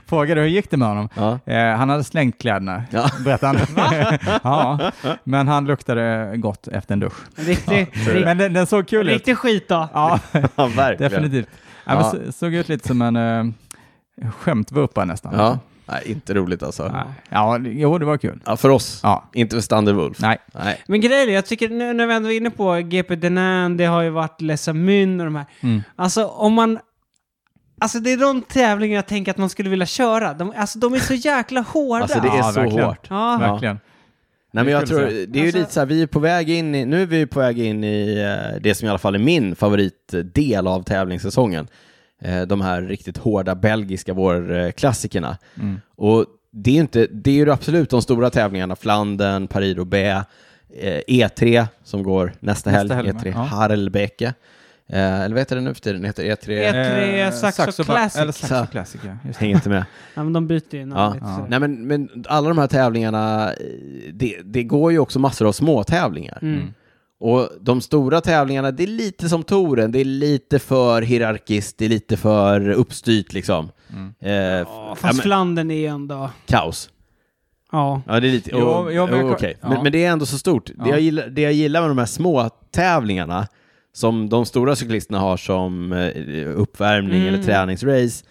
S3: Frågade hur gick det med honom?
S1: ja.
S3: Eh, han hade slängt kläderna,
S1: Ja.
S3: berättade han. ja, men han luktade gott efter en dusch.
S2: En Riktig, rik,
S3: Men den, den såg kul ut.
S2: riktig skit då.
S3: Ja,
S1: ja, verkligen.
S3: definitivt. Ja. men
S1: Ja.
S3: så- såg ut lite som en eh, skämtvurpa nästan.
S1: Ja. Nej, inte roligt alltså.
S3: Ja. ja, det- jo det var kul.
S1: Ja, för oss.
S3: Ja,
S1: Inte för Stander Wolf.
S3: nej.
S1: Nej.
S2: Men grejen är, jag tycker nu när vi ändå är inne på GP Denan, det har ju varit Les Amun och de här.
S3: Mm.
S2: Alltså om man... Alltså det är de tävlingar jag tänker att man skulle vilja köra. De, alltså de är så jäkla hårda.
S1: Alltså det är
S3: Ja,
S1: så
S3: verkligen.
S1: hårt.
S2: ja.
S3: Verkligen.
S1: Nej, men
S3: Det är
S1: jag
S3: kul
S1: tror,
S3: att
S1: det
S3: se.
S1: är ju
S2: Alltså-
S1: lite så här, vi är på väg in i, nu är vi på väg in i eh, det som i alla fall är min favoritdel av tävlingssäsongen. Eh, De här riktigt hårda belgiska vårklassikerna.
S3: Mm.
S1: Och det är ju inte, det är ju absolut de stora tävlingarna, Flandern, Paris-Roubaix, eh, E3 som går nästa,
S3: Nästa
S1: helg,
S3: helg,
S1: E3
S3: ja.
S1: Harelbeke. Eh, Eller vad heter det nu för tiden? Det heter E E3...
S2: E3. E Tre Saxo Classic.
S3: Eller Eh, Saxo Classic, ja. Just det.
S1: Hänger inte med.
S2: Ja, men de byter ju namn
S1: Ja.
S2: lite.
S3: Ja.
S2: så.
S1: Nej, men, men alla de här tävlingarna, eh, det, det går ju också massor av små tävlingar.
S2: Mm.
S1: Och de stora tävlingarna, det är lite som touren, det är lite för hierarkiskt, det är lite för uppstyrt liksom. Eh,
S2: Ja,
S1: ja,
S2: Fast
S1: men,
S2: Flandern är ju ändå...
S1: kaos.
S2: Ja.
S1: Ja, det är lite...
S3: Jo,
S1: oh,
S3: jo, men jag-
S1: oh, okej.
S3: ja.
S1: men, men det är ändå så stort. Det,
S3: Ja.
S1: jag gillar, det jag gillar med de här små tävlingarna, som de stora cyklisterna har som eh, uppvärmning
S2: Mm.
S1: eller träningsrace,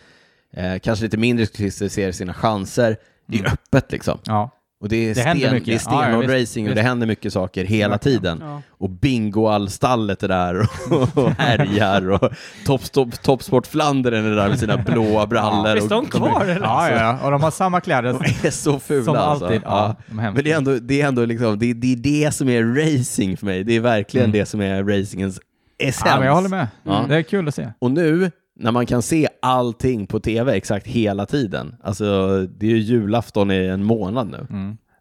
S1: eh, kanske lite mindre cyklister ser sina chanser, det är öppet liksom.
S3: Ja.
S1: Och det är,
S3: Det
S1: sten,
S3: händer mycket.
S1: det är
S3: Ja, ja,
S1: stenhård
S3: visst,
S1: racing och det
S3: visst.
S1: händer mycket saker hela
S3: Verkligen.
S1: tiden.
S2: ja.
S1: Och bingoallstallet är där och, och härjar och Toppstop- Toppsport Flandern är där med sina blåa brallor.
S2: Visst är de
S1: och,
S2: kvar eller?
S3: Ja,
S2: alltså?
S3: ja, ja, och de har samma kläder
S1: De är så fula
S3: som
S1: alltså.
S3: alltid. Ja,
S1: Ja.
S3: de är hemska.
S1: Men det är ändå, det, är ändå liksom, det, det är det som är racing för mig. Det är verkligen det som är racingens essens.
S3: Mm. ja, men jag håller med.
S1: Ja.
S3: Det är kul att se.
S1: Och nu när man kan se allting på tv exakt hela tiden, alltså det är ju julafton i en månad nu.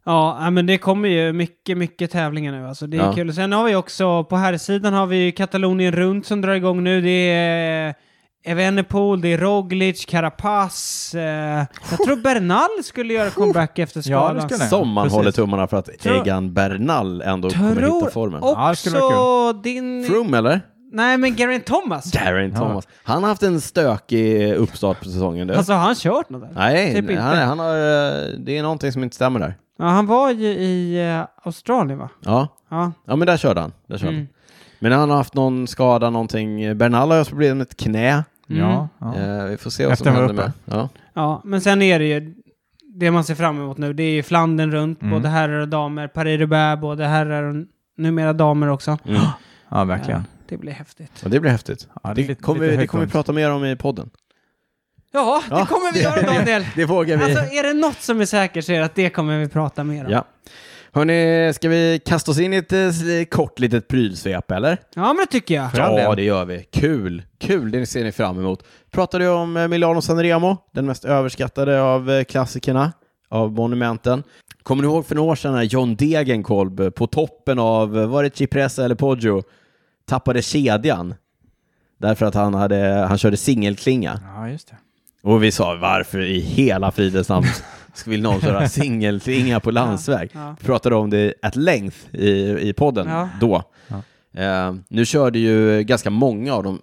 S2: Ja, ja, men det kommer ju mycket, mycket tävlingar nu. Alltså, det är
S1: Ja.
S2: kul. Sen har vi också, på här sidan har vi ju Katalonien runt som drar igång nu. Det är eh, Evenepoel, det är Roglic, Carapaz. Eh, jag tror Bernal skulle göra comeback efter
S3: Ja,
S2: skadan.
S3: det skulle han.
S1: Som man
S3: Precis.
S1: håller tummarna för att
S2: Tror-
S1: Egan Bernal ändå kommer hitta
S2: Tror
S1: formen.
S3: Ja, det skulle
S2: också din...
S1: Froome eller?
S2: Nej, men Geraint Thomas.
S1: Darren Thomas. Han har haft en stökig uppstart på säsongen. Du.
S2: Alltså, har han kört något där?
S1: Nej,
S2: typ inte.
S1: han, han har, eh, det är någonting som inte stämmer där.
S2: Ja, han var ju i eh, Australien, va?
S1: Ja,
S2: Ja.
S1: ja men där körde han. Där körde
S2: Mm.
S1: han. Men han har haft någon skada, någonting. Bernal har haft problem med ett knä.
S2: Mm.
S3: Ja, ja.
S1: Eh, vi får se vad
S3: Efter
S1: som
S3: han var
S1: händer med. Ja.
S2: Ja, men sen är det ju det man ser fram emot nu. Det är ju Flandern runt,
S1: Mm.
S2: både herrar och damer. Paris-Roubaix, både herrar och numera damer också.
S1: Mm.
S3: ja verkligen.
S2: Det blir häftigt.
S1: Och det blir häftigt.
S3: Ja,
S1: det,
S3: är lite-
S1: kommer,
S3: lite
S1: vi- det
S3: högt
S1: kommer vi
S3: upp.
S1: prata mer om i podden.
S2: Ja, det
S1: Ja,
S2: kommer vi göra Daniel!
S1: Det vågar vi.
S2: Alltså, är det något som är säkert så är det att det kommer vi prata mer om. Ja,
S1: Ja. Hörni, ska vi kasta oss in i ett eh, s- kort litet prylsvep eller?
S2: men det tycker jag.
S3: all
S1: Ja,
S3: del.
S1: det gör vi. Kul! Kul, det ser ni fram emot. Pratade ju om eh, Milano Sanremo, den mest överskattade av eh, klassikerna, av monumenten. Kommer ni ihåg för några år sedan när John Degenkolb eh, på toppen av, eh, var det Cipressa eller Poggio, tappade kedjan? Därför att han, hade, han körde singelklinga.
S3: Ja, just det.
S1: Och vi sa varför i hela fridens namn vill någon köra singelklinga på landsväg?
S2: Ja.
S1: Vi pratade om det at length i, i podden
S2: Ja.
S1: då.
S3: Ja.
S1: Eh, nu körde ju ganska många av de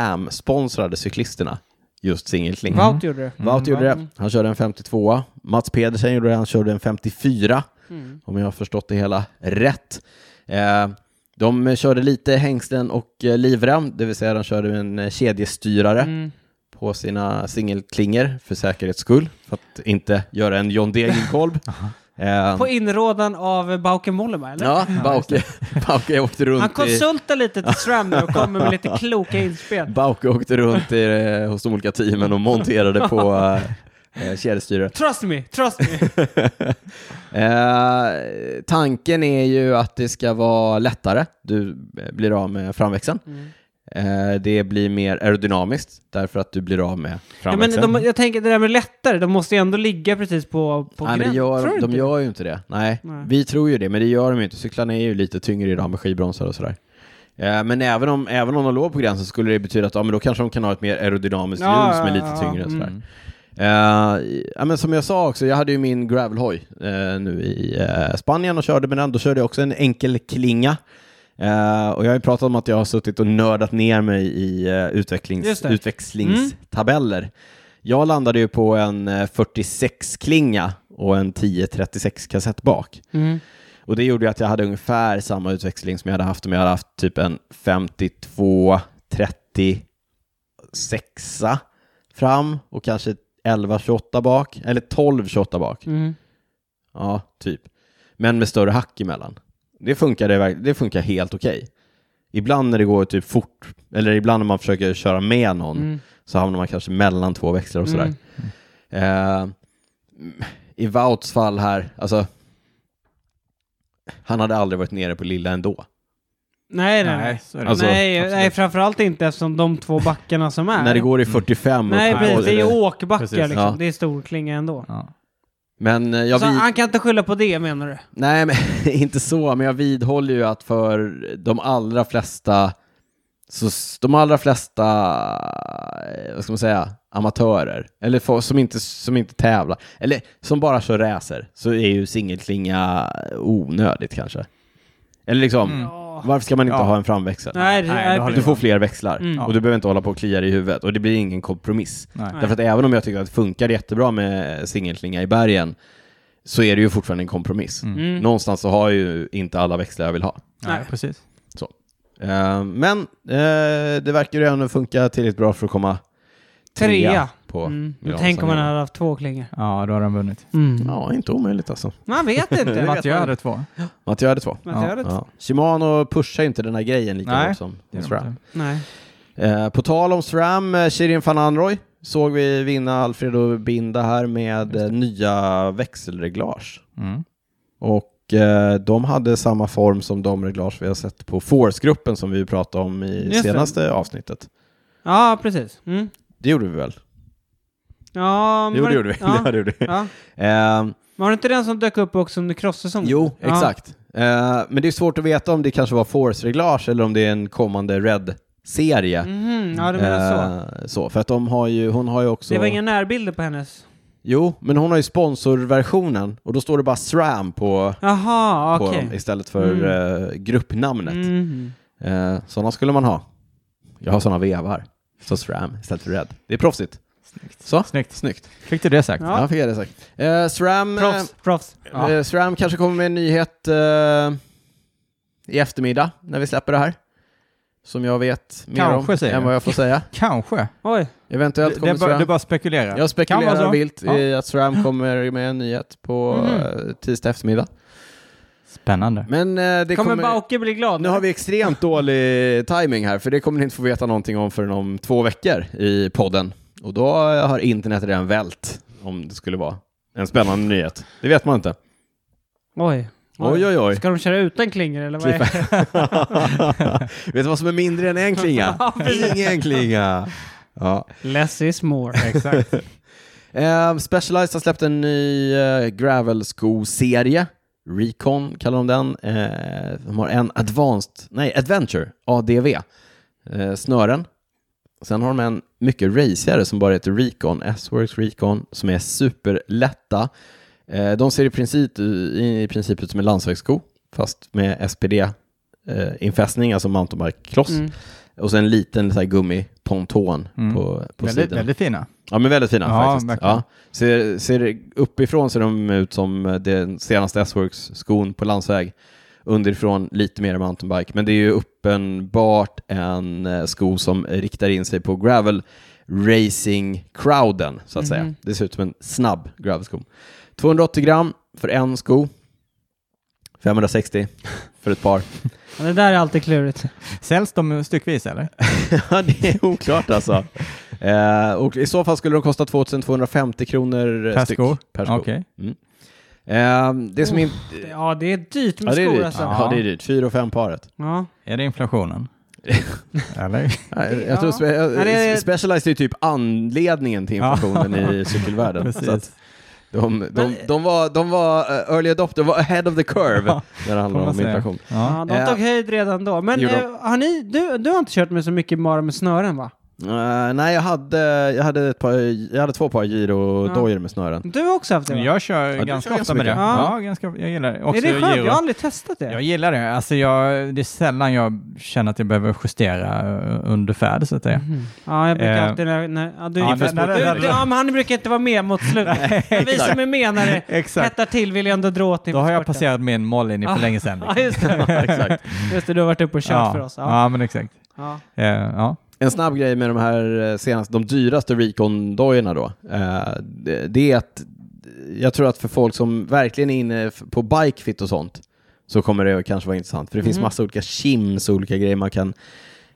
S1: SRAM-sponsrade cyklisterna just singelklinga.
S2: Wout gjorde det.
S1: Mm.
S2: Mm.
S1: Wout gjorde det. Han körde en 52 Mats Pedersen gjorde det. Han körde en 54
S2: Mm.
S1: om jag har förstått det hela rätt. Eh, de körde lite hängslen och eh, livrem, det vill säga de körde en eh, kedjestyrare
S2: Mm.
S1: på sina singelklingor för säkerhets skull, för att inte göra en John Degenkolb. eh,
S2: På inrådan av Bauke Mollema, eller?
S1: ja, Bauke, Bauke åkte
S2: Han
S1: runt i,
S2: konsultar lite till SRAM nu och kommer med lite kloka inspel.
S1: Bauke åkte runt i, eh, hos de olika teamen och monterade på eh, eh, kedjestyrare.
S2: Trust me, trust me.
S1: Eh, tanken är ju att det ska vara lättare, du eh, blir av med framväxeln.
S2: Mm.
S1: Eh, det blir mer aerodynamiskt därför att du blir av med
S2: Ja, men
S1: framväxeln.
S2: de, jag tänker det där med lättare, de måste ju ändå ligga precis på, på
S1: Nej, men det
S2: gränsen. Tror
S1: gör,
S2: du
S1: de
S2: inte?
S1: gör ju inte det. Nej.
S2: Nej.
S1: vi tror ju det, men det gör de ju inte. Cyklarna är ju lite tyngre idag med skivbromsar och sådär. Eh, Men även om, även om de låg på gränsen så skulle det betyda att ja, men då kanske de kan ha ett mer aerodynamiskt
S2: Ja,
S1: hjul som är
S2: ja,
S1: lite
S2: ja,
S1: tyngre. Och sådär.
S3: mm.
S1: Eh, ja, men som jag sa också, jag hade ju min gravelhoj eh, nu i eh, Spanien och körde med den. Då körde jag också en enkel klinga. Eh, och jag har ju pratat om att jag har suttit och nördat ner mig i eh,
S2: Just
S1: utvecklings,
S2: det.
S1: utväxlingstabeller. Jag landade ju på en 46-klinga och en 10-36-kassett bak.
S2: Mm.
S1: Och det gjorde ju att jag hade ungefär samma utväxling som jag hade haft om jag hade haft typ en 52, 36 fram och kanske 11, 28 bak, eller 12, 28 bak.
S2: Mm.
S1: Ja, typ. Men med större hack emellan. Det funkar, det, verk- det funkar helt okej. Ibland när det går typ fort, eller ibland när man försöker köra med någon,
S2: Mm.
S1: så hamnar man kanske mellan två växlar och sådär.
S2: Mm.
S1: Eh, I Vauts fall här, alltså, han hade aldrig varit nere på lilla ändå.
S2: Nej, nej,
S3: Nej,
S2: nej.
S3: så är det.
S1: Alltså,
S2: nej,
S3: absolut.
S2: nej, framförallt inte eftersom de två backarna som är.
S1: När det går i 45
S2: nej,
S1: upp-
S2: precis, det är ju åkbackar
S3: Precis.
S2: liksom.
S1: Ja.
S2: Det är storklinga ändå.
S3: Ja.
S1: Men eh, jag
S2: Så
S1: vid...
S2: han kan inte skylla på det menar du?
S1: Nej, men inte så, men jag vidhåller ju att för de allra flesta, så, s- de allra flesta, eh, vad ska man säga, amatörer, eller folk som inte, som inte tävlar, eller som bara kör racer, så är ju singelklinga onödigt kanske. Eller liksom,
S2: Mm. Ja.
S1: varför ska man inte
S3: Ja.
S1: ha en framväxel?
S2: Nej, det-
S3: Nej,
S2: nej,
S3: då har
S1: Du
S2: precis.
S1: får fler växlar
S2: Mm.
S1: och du behöver inte hålla på och klia dig i huvudet och det blir ingen kompromiss.
S3: Nej.
S1: Därför att även om jag tycker att det funkar jättebra med singelklinga i bergen så är det ju fortfarande en kompromiss.
S2: Mm.
S1: Någonstans så har jag ju inte alla växlar jag vill ha.
S3: Nej,
S2: Nej.
S3: precis.
S1: Eh, men eh, det verkar ju ändå funka tillräckligt bra för att komma trea,
S2: Trea.
S1: på
S2: Mm. Men
S1: Milano
S2: Tänk om
S1: Sanremo.
S2: han hade haft två klingor.
S3: Ja, då har de vunnit.
S2: Mm.
S1: Ja, inte omöjligt alltså.
S2: Man vet inte. vet
S3: Mattias
S2: man.
S3: hade två.
S1: Matteo hade två.
S2: Mattias
S3: Ja.
S2: hade två.
S1: Ja. Shimano pushar ju inte den här grejen lika
S3: Nej.
S1: hårt som
S3: Det
S1: SRAM.
S3: är
S2: Nej.
S1: Eh, på tal om SRAM, eh, Shirin van Anroy såg vi vinna Alfredo Binda här med eh, nya växelreglage.
S3: de. Mm.
S1: Och eh, de hade samma form som de reglage vi har sett på Force-gruppen som vi pratade om i
S2: Just det.
S1: senaste avsnittet.
S2: Ja, precis. Mm.
S1: Det gjorde vi väl?
S2: Ja,
S1: Jo,
S2: var-
S1: det gjorde vi.
S2: Ja.
S1: det gjorde vi.
S2: Ja.
S1: Eh,
S2: Men var det inte den som dök upp också under cross-säsongen?
S1: Jo,
S2: Ja.
S1: exakt. Eh, men det är svårt att veta om det kanske var Force-reglage eller om det är en kommande Red-serie.
S2: Mhm, ja, du menar så.
S1: Eh, så. För att de har ju, hon har ju också...
S2: Det var inga närbilder på hennes?
S1: Jo, men hon har ju sponsorversionen och då står det bara SRAM på,
S2: Jaha,
S1: på
S2: okej. Mm.
S1: dem istället för eh, gruppnamnet.
S2: Mhm.
S1: Eh, sådana skulle man ha. Jag har sådana vevar. Så SRAM istället för Red. Det är proffsigt. Så,
S3: Snyggt.
S1: snyggt.
S3: Fick du det sagt?
S2: Ja.
S1: Ja, fick jag det sagt. Eh, SRAM... eh,
S2: Proffs, proffs.
S3: Ja.
S1: Eh, SRAM kanske kommer med en nyhet eh, i eftermiddag när vi släpper det här. Som jag vet mer
S3: Kanske,
S1: om
S3: säger
S1: än
S3: du.
S1: vad jag får säga.
S3: Kanske.
S2: Oj,
S1: Eventuellt
S3: Det,
S1: kommer
S3: det, bara,
S1: SRAM.
S3: det bara spekulerar.
S1: Jag
S3: Kan vara
S1: spekulerar
S3: så.
S1: vilt
S3: Ja.
S1: i att SRAM kommer med en nyhet på
S2: Mhm.
S1: eh, tisdag eftermiddag.
S3: Spännande.
S1: Men eh, det
S2: kommer
S1: kommer...
S2: Bauke bli glad?
S1: nu har vi extremt dålig timing här, för det kommer ni inte få veta någonting om förrän om två veckor i podden. Och då eh, har internet redan vält, om det skulle vara en spännande nyhet. Det vet man inte.
S2: Oj.
S1: Oj, oj, oj.
S2: Ska de köra utan klingor eller vad är det?
S1: Typ. Vet du vad som är mindre än en klinga? Ingen klinga. Ja.
S2: Less is more.
S3: Exakt.
S1: Eh, Specialized har släppt en ny eh, gravelsko-serie. Recon kallar de den. Eh, de har en Advanced, nej Adventure, ADV, eh, snören. Sen har de en mycket racigare som bara heter Recon, S-Works Recon, som är superlätta. Eh, de ser i princip, i princip ut som en landsvägssko, fast med SPD-infästning, alltså mountainbike-kloss.
S2: Mm.
S1: Och sen en liten så här, gummiponton
S3: Mm.
S1: på, på
S3: väldigt,
S1: sidan.
S3: väldigt fina.
S1: Ja, men väldigt fina
S3: Ja,
S1: faktiskt.
S3: verkligen.
S1: Ja. Ser, ser uppifrån ser de ut som den senaste S-Works-skon på landsväg. Underifrån lite mer mountainbike, men det är ju uppenbart en eh, sko som riktar in sig på gravel racing-crowden, så att säga.
S2: Mhm.
S1: Det ser ut som en snabb gravelsko. 280 gram för en sko, 560 för ett par.
S2: Ja, Det där är alltid klurigt.
S3: Säljs de styckvis eller?
S1: Ja, det är oklart alltså. Eh, och I så fall skulle de kosta 2250 kronor
S3: Per
S1: styck.
S3: sko?
S1: Per sko.
S3: Okej.
S1: Eh, det som
S2: Oh,
S1: in...
S2: Det- Ja, det är dyrt med
S1: ja, det är
S2: skor
S1: dyrt.
S2: alltså.
S1: Ja, det är dyrt. Fyra och fem paret.
S2: Ja.
S3: Är det inflationen? eller?
S1: Ja, jag
S2: Ja.
S1: tror spe... jag-
S2: Ja, det är-
S1: Specialized är ju typ anledningen till
S3: Ja.
S1: inflationen i cykelvärlden. Så att
S3: Precis.
S1: de, de,
S2: Men-
S1: de var, de var eh, early adopter, var ahead of the curve
S3: Ja,
S1: när det handlar
S3: man
S1: om
S3: säga.
S1: inflation.
S2: Ja,
S3: Ja.
S2: de tog höjd redan då. Men
S1: Eh, Gjorde de.
S2: eh, har ni, du, du har inte kört med så mycket bara med snören va?
S1: Eh, nej, jag hade, jag, hade ett par, jag hade två par gyrodojor med snören.
S2: Du har också haft det va?
S3: Jag kör
S1: du
S3: ganska
S1: kör ganska
S3: ofta med det.
S1: mycket.
S2: Ja.
S3: Ja. ganska, jag gillar det. Också
S2: är det skönt?
S3: gyro.
S2: Jag har aldrig testat det.
S3: Jag gillar det. Alltså jag, det är sällan jag känner att jag behöver justera eh, under färd så att säga.
S2: Mhm. Ja, jag brukar
S3: Eh,
S2: alltid... När, när, ja, du,
S3: ja,
S2: du,
S3: när- när- när-
S2: du, ja, men han brukar inte vara med mot slutet. Men vi som är med när det
S3: Exakt.
S2: hettar till vill ändå dra åt
S3: Då har jag passerat min mållinje för
S2: Ah.
S3: länge sedan. liksom.
S2: Ja, just det.
S1: Exakt.
S2: Just det, du har varit uppe och kört
S3: ja.
S2: för oss. Ja.
S3: Ja, men exakt.
S2: Ja.
S3: Eh, ja.
S1: En snabb grej med de här eh, senaste, de dyraste Recon-dojorna då, eh, det- det är att eh, jag tror att för folk som verkligen är inne f- på bikefit och sånt så kommer det kanske vara intressant, för det finns
S2: Mhm.
S1: massa olika shims och olika grejer man kan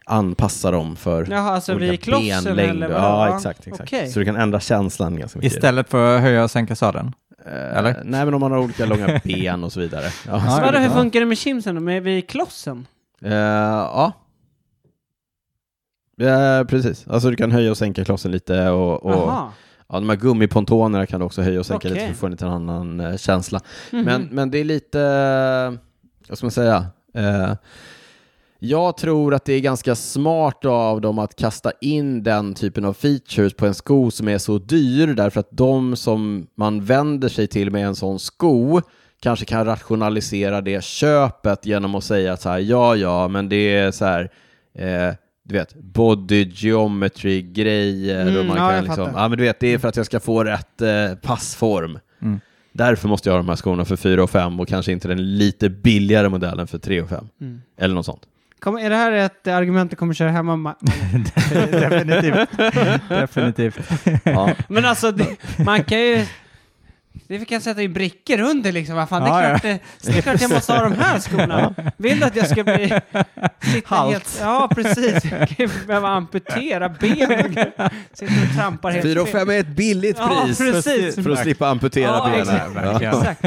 S1: anpassa dem för.
S2: Jaha, alltså
S1: olika
S2: vid klossen
S1: benlängd.
S2: eller vadå?
S1: Ja, exakt. exakt.
S2: Okej.
S1: Så du kan ändra känslan ganska mycket.
S3: Istället för att höja och sänka sadeln.
S1: Eh,
S3: eller?
S1: Nej, men om man har olika långa ben och så vidare. Ja,
S3: Ja,
S1: så-
S2: Så vadå, hur
S3: ja.
S2: funkar det med chimsen då? Med vid klossen?
S1: Eh, ja. Eh, precis, alltså du kan höja och sänka klossen lite och, och
S2: Jaha.
S1: Ja, de här gummipontonerna kan du också höja och sänka lite
S2: Okej.
S1: för att få en lite annan eh, känsla.
S2: Mhm.
S1: Men, men det är lite, eh, vad ska man säga? Eh, jag tror att det är ganska smart av dem att kasta in den typen av features på en sko som är så dyr därför att de som man vänder sig till med en sån sko kanske kan rationalisera det köpet genom att säga att så här, ja, ja, men det är så här, eh, du vet, body geometry grejer och
S2: Mm,
S1: man
S2: ja,
S1: kan
S2: jag
S1: liksom,
S2: fattar.
S1: ja men du vet, det är för att jag ska få rätt eh, passform.
S3: Mm.
S1: Därför måste jag ha de här skorna för 4 och 5 och kanske inte den lite billigare modellen för 3 och 5.
S2: Mm.
S1: Eller något sånt.
S2: Kommer- är det här ett argument du kommer köra hemma? Ma-
S3: Definitivt. Definitivt.
S1: Ja.
S2: Men alltså, det, man kan ju... Det kan sätta in brickor under liksom. Vad fan, det, är
S3: Ja,
S2: klart, det, det är klart jag måste ha de här skorna. Vill du att jag ska bli... Sitta
S3: Halt.
S2: helt, ja, precis. Jag kan ju behöva amputera benen. Sitter och trampar helt
S1: 4 och
S2: fel.
S1: 5 är ett billigt
S2: Ja,
S1: pris
S2: precis.
S1: för att slippa amputera
S2: Ja,
S1: benen.
S2: exakt.
S1: Ja.
S2: Exakt.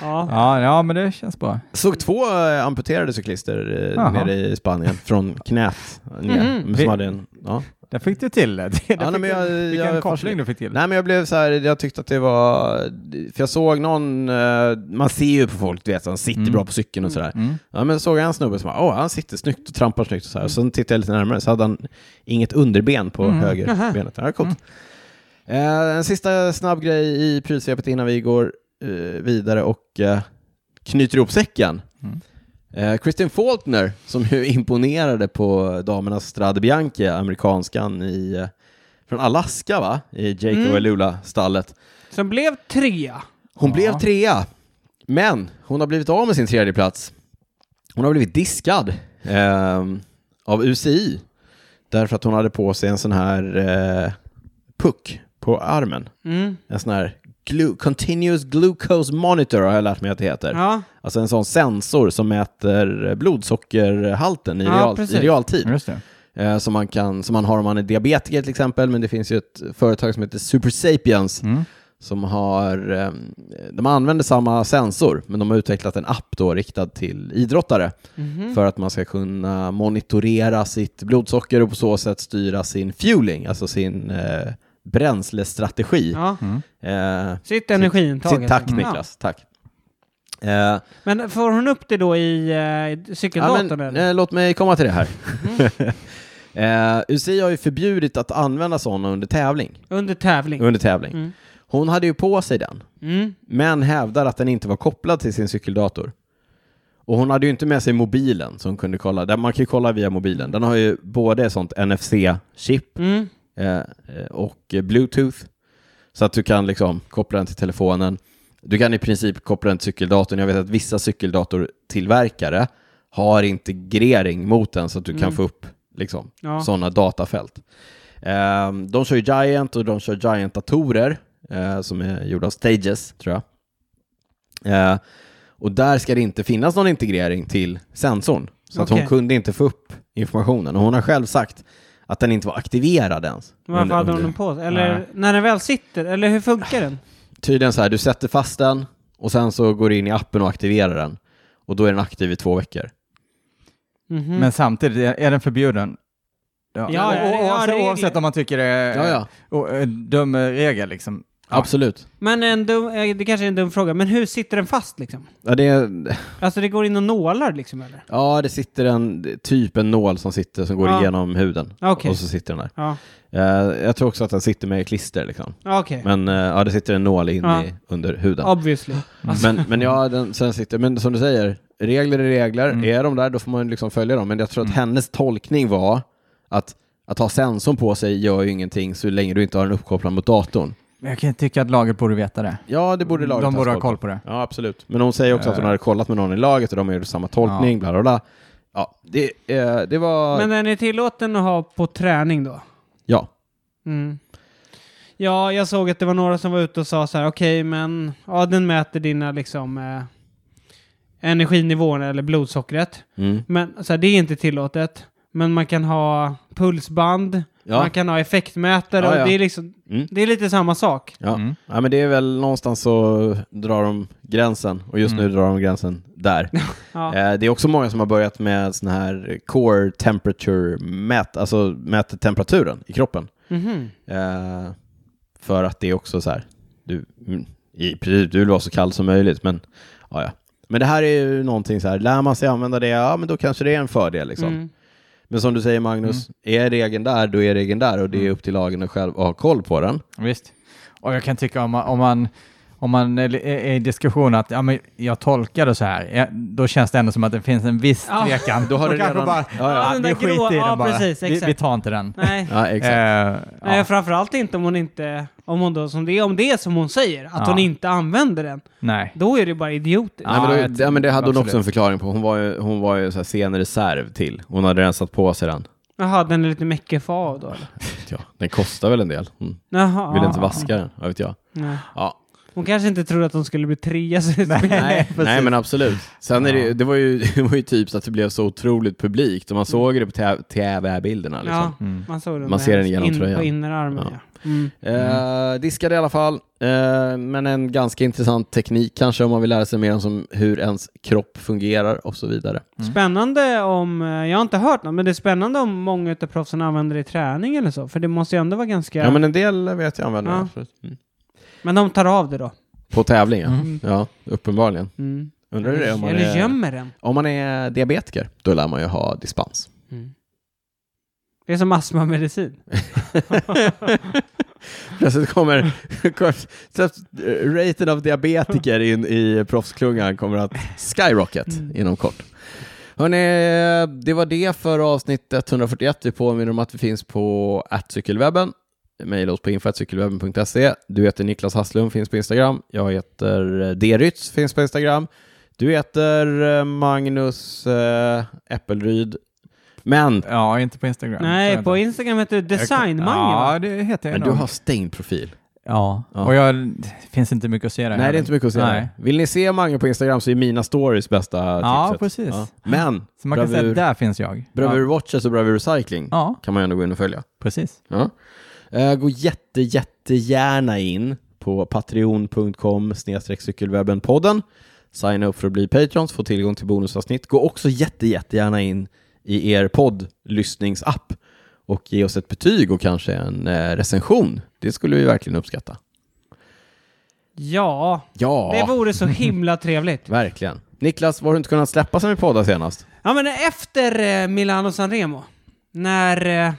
S2: Ja.
S3: Ja, ja, men det känns bra.
S1: Såg två eh, amputerade cyklister eh,
S3: Jaha.
S1: nere i Spanien från knät. eh, ner,
S2: Mhm.
S1: Som
S3: Vi-
S1: hade en Ja.
S3: Där fick du till det. Där
S1: nej,
S3: fick
S1: men
S3: du-
S1: jag-
S3: vilken
S1: jag
S3: koppling
S1: fascinerad.
S3: du fick till.
S1: Nej men jag blev så här, jag tyckte att det var, för jag såg någon, eh, man ser ju på folk, du vet, som sitter
S3: Mm.
S1: bra på cykeln och sådär.
S3: Mm.
S1: Ja men såg jag en snubbe som bara, åh han sitter snyggt och trampar snyggt och så här. Och sen tittade jag lite närmare så hade han inget underben på högerbenet. Ja, coolt. Eh, en sista snabb grej i prylsvepet innan vi går eh, vidare och eh, knyter ihop säcken.
S3: Mm.
S1: Eh, Kristin Faulkner, som ju imponerade på damernas Strade Bianchi, amerikanskan i, eh, från Alaska va? I Jake
S2: Mm.
S1: och Lula-stallet.
S2: Som blev trea.
S1: Hon
S3: Ja.
S1: blev trea, men hon har blivit av med sin tredje plats. Hon har blivit diskad ehm, av UCI därför att hon hade på sig en sån här eh, puck på armen.
S2: Mm.
S1: En sån här glu- continuous glucose monitor har jag lärt mig att det heter.
S2: Ja.
S1: Alltså en sån sensor som mäter blodsockerhalten i,
S2: Ja,
S1: real,
S2: precis. Mm.
S1: i realtid.
S3: Just det.
S1: Eh, som, man kan, som man har om man är diabetiker till exempel, men det finns ju ett företag som heter Super Sapiens
S3: Mm.
S1: som har, eh, de använder samma sensor, men de har utvecklat en app då riktad till idrottare
S2: Mhm.
S1: för att man ska kunna monitorera sitt blodsocker och på så sätt styra sin fueling, alltså sin eh, bränslestrategi.
S2: ja. Mm.
S1: Eh,
S2: Sitt energiintag.
S1: sitt,
S2: helt
S1: tack
S2: enkelt.
S1: Niklas, tack. Eh,
S2: Ja. Men får hon upp det då i eh,
S1: Ja,
S2: cykeldatorn?
S1: men,
S2: eller?
S1: eh, låt mig komma till det här.
S2: Mm.
S1: eh, UCI har ju förbjudit att använda sådana under tävling.
S2: Under tävling?
S1: Under tävling.
S2: Mm.
S1: Hon hade ju på sig den,
S2: Mm.
S1: men hävdar att den inte var kopplad till sin cykeldator. Och hon hade ju inte med sig mobilen som kunde kolla. Där- Man kan ju kolla via mobilen. Den har ju både sånt NFC-chip
S2: Mm.
S1: eh, eh, och eh, Bluetooth. Så att du kan liksom koppla den till telefonen. Du kan i princip koppla den till cykeldatorn. Jag vet att vissa cykeldatortillverkare har integrering mot den så att du kan
S2: Mm.
S1: få upp liksom,
S2: Ja.
S1: sådana datafält. Eh, de kör ju Giant och de kör Giant-datorer eh, som är gjorda av Stages, tror jag. Eh, och där ska det inte finnas någon integrering till sensorn. Så att hon
S2: Okej.
S1: kunde inte få upp informationen. Och hon har själv sagt att den inte var aktiverad ens.
S2: Varför
S1: Under-
S2: hade hon
S1: under-
S2: den på sig? Eller
S3: Nej.
S2: när den väl sitter? Eller hur funkar den?
S1: Tydligen så här, du sätter fast den och sen så går du in i appen och aktiverar den. Och då är den aktiv i två veckor.
S2: Mhm.
S3: Men samtidigt, är är den förbjuden? Ja,
S2: ja, det- ja, det är
S3: oavsett,
S2: regler.
S3: oavsett om man tycker det är
S1: Ja, ja.
S3: och, eh, dum regel liksom. Ja.
S1: Absolut.
S2: Men en dum, eh, det kanske är en dum fråga, men hur sitter den fast liksom?
S1: Ja det,
S2: Alltså det går in och nålar liksom eller?
S1: ja, det sitter en typ en nål som sitter som går
S2: Ja.
S1: igenom huden.
S2: Okej.
S1: Och så sitter den där.
S2: Ja,
S1: Eh, jag tror också att den sitter med klister liksom.
S2: Ja, okej.
S1: Men eh, ja, det sitter en nål in
S2: Ja.
S1: i, under huden.
S2: Obviously.
S1: Men, men ja, den, sen sitter, men som du säger, regler är regler.
S3: Mm.
S1: Är de där, då får man liksom följa dem. Men jag
S2: Mm.
S1: tror att hennes tolkning var att att ha sensorn på sig gör ju ingenting så länge du inte har den uppkopplad mot datorn.
S3: Men jag kan tycka att laget borde veta det.
S1: Ja, det borde laget
S3: De borde ha koll på det.
S1: Ja, absolut. Men hon säger också
S2: Eh.
S1: att hon hade kollat med någon i laget och de gjorde samma tolkning, bla bla bla. Ja, det, eh, det var...
S2: Men den är tillåten att ha på träning då?
S1: Ja.
S2: Mm. Ja, jag såg att det var några som var ute och sa så här, okej, men ja, den mäter dina liksom eh, energinivåer eller blodsockret.
S1: Mm.
S2: Men så här, det är inte tillåtet. Men man kan ha pulsband,
S1: Ja.
S2: man kan ha effektmätare
S1: Ja, ja.
S2: och det är liksom,
S1: Mm.
S2: det är lite samma sak.
S1: Ja.
S3: Mm.
S1: ja, men det är väl någonstans så drar de gränsen och just nu drar de gränsen där.
S2: Ja.
S1: Eh, Det är också många som har börjat med sån här core temperature mät, alltså mäter temperaturen i kroppen.
S2: Mhm.
S1: Eh, För att det är också så här, du, mm, i princip, du vill vara så kall som möjligt, men ja, ja. Men det här är ju någonting så här, lär man sig använda det, ja men då kanske det är en fördel liksom.
S2: Mm.
S1: Men som du säger Magnus, är regeln där, då är regeln där och det är upp till lagen att själv ha koll på den.
S3: Visst. Och jag kan tycka om man, om man, om man är är i diskussion att ja, men jag tolkar det så här, ja, då känns det ändå som att det finns en viss
S2: Ja.
S3: tvekan.
S1: Då har
S3: De
S1: du
S3: kanske
S1: redan-
S3: Bara,
S1: Ja,
S2: ja.
S3: ja,
S2: Den
S3: vi
S2: där
S3: skiter
S2: grå-
S3: i den
S2: ja,
S3: bara.
S2: precis,
S3: vi, vi
S2: exakt.
S3: tar inte den.
S2: Nej.
S1: Ja, exakt.
S3: Eh,
S2: Nej,
S3: ja,
S2: framförallt inte om hon inte, om hon då som det är, om det är som hon säger, att
S3: Ja.
S2: hon inte använder den,
S3: nej.
S2: då är det bara idiotiskt.
S1: Nej, men
S3: Ja,
S1: då,
S3: jag-
S1: ja, men det hade hon också
S3: absolut.
S1: en förklaring på. Hon var ju, hon var ju så här scenreserv till. Hon hade rensat på sig den.
S2: Jaha, den är lite meckefa av då eller?
S1: Ja, den kostar väl en del. Hon
S2: Jaha.
S1: ville
S2: ja.
S1: inte
S3: Ah.
S1: vaska den, vad vet jag.
S2: Nej.
S1: Ja.
S2: Hon kanske inte trodde att hon skulle bli trea. så det spelar-
S1: Nej, nej, men absolut. Sen är det, ju-
S3: Ja.
S1: det, var ju, det var ju typ så att det blev så otroligt publikt och man såg det på TV-bilderna. Liksom.
S2: Ja, man såg den
S1: Man
S2: med
S1: ser den
S2: hennes
S1: genom
S2: in,
S1: tröjan.
S2: På innerarmen, ja.
S1: Ja.
S2: Mm.
S1: Eh, diskade i alla fall, eh, men en ganska intressant teknik kanske om man vill lära sig mer om som hur ens kropp fungerar och så vidare.
S3: Mm.
S2: Spännande om, eh, jag har inte hört något, men det är spännande om många utav proffsen använder det i träning eller så, för det måste ju ändå vara ganska...
S1: Ja, men en del vet jag använder
S2: Ja.
S1: det, absolut. mm.
S2: Men de tar av det då?
S1: På tävling, ja.
S3: Mm.
S1: ja uppenbarligen.
S2: Mm.
S1: Undrar hur det är om man
S2: eller
S1: är,
S2: gömmer den?
S1: om man är diabetiker, då lär man ju ha dispens.
S2: Mm. Det är som astmamedicin.
S1: Plötsligt kommer, kommer så att, eh, raten av diabetiker in i proffsklungan kommer att skyrocket
S2: Mm.
S1: inom kort. Hörrni, det var det för avsnitt 141. Vi påminner om att vi finns på cykelwebben. Mejla oss på info.cykelwebben.se. Du heter Niklas Hasslum, finns på Instagram. Jag heter Derytz, finns på Instagram. Du heter eh, Magnus eh, Äppelryd. Men,
S3: Ja, inte på Instagram. Så är
S2: Nej,
S3: det
S2: på
S3: inte.
S2: Instagram heter det
S3: Jag-
S2: designmange va?
S3: Ja, det heter jag
S1: men
S3: nog.
S1: du har stängd profil.
S3: Ja,
S1: Ja.
S3: och jag, det finns inte mycket att se där.
S1: Nej, det är inte mycket att säga.
S3: Nej.
S1: Vill ni se Mange på Instagram så är mina stories bästa
S3: Ja,
S1: tipset.
S3: precis.
S1: Men
S3: Så man kan
S1: Bravur.
S3: säga, där finns jag.
S1: Bravur Watches och Bravur Cycling
S3: Ja,
S1: kan man ju ändå gå in och följa.
S3: precis.
S1: Ja. Eh, Gå jätte, jättegärna in på patreon.com cykelwebbenpodden. Signa upp för att bli patrons, få tillgång till bonusavsnitt. Gå också jätte, jättegärna in i er poddlyssningsapp och ge oss ett betyg och kanske en eh, recension. Det skulle vi verkligen uppskatta.
S2: Ja,
S1: Ja,
S2: det vore så himla trevligt.
S1: verkligen. Niklas, var du inte kunnat släppa sen vi poddade senast?
S2: Ja, men efter eh, Milano Sanremo, när eh,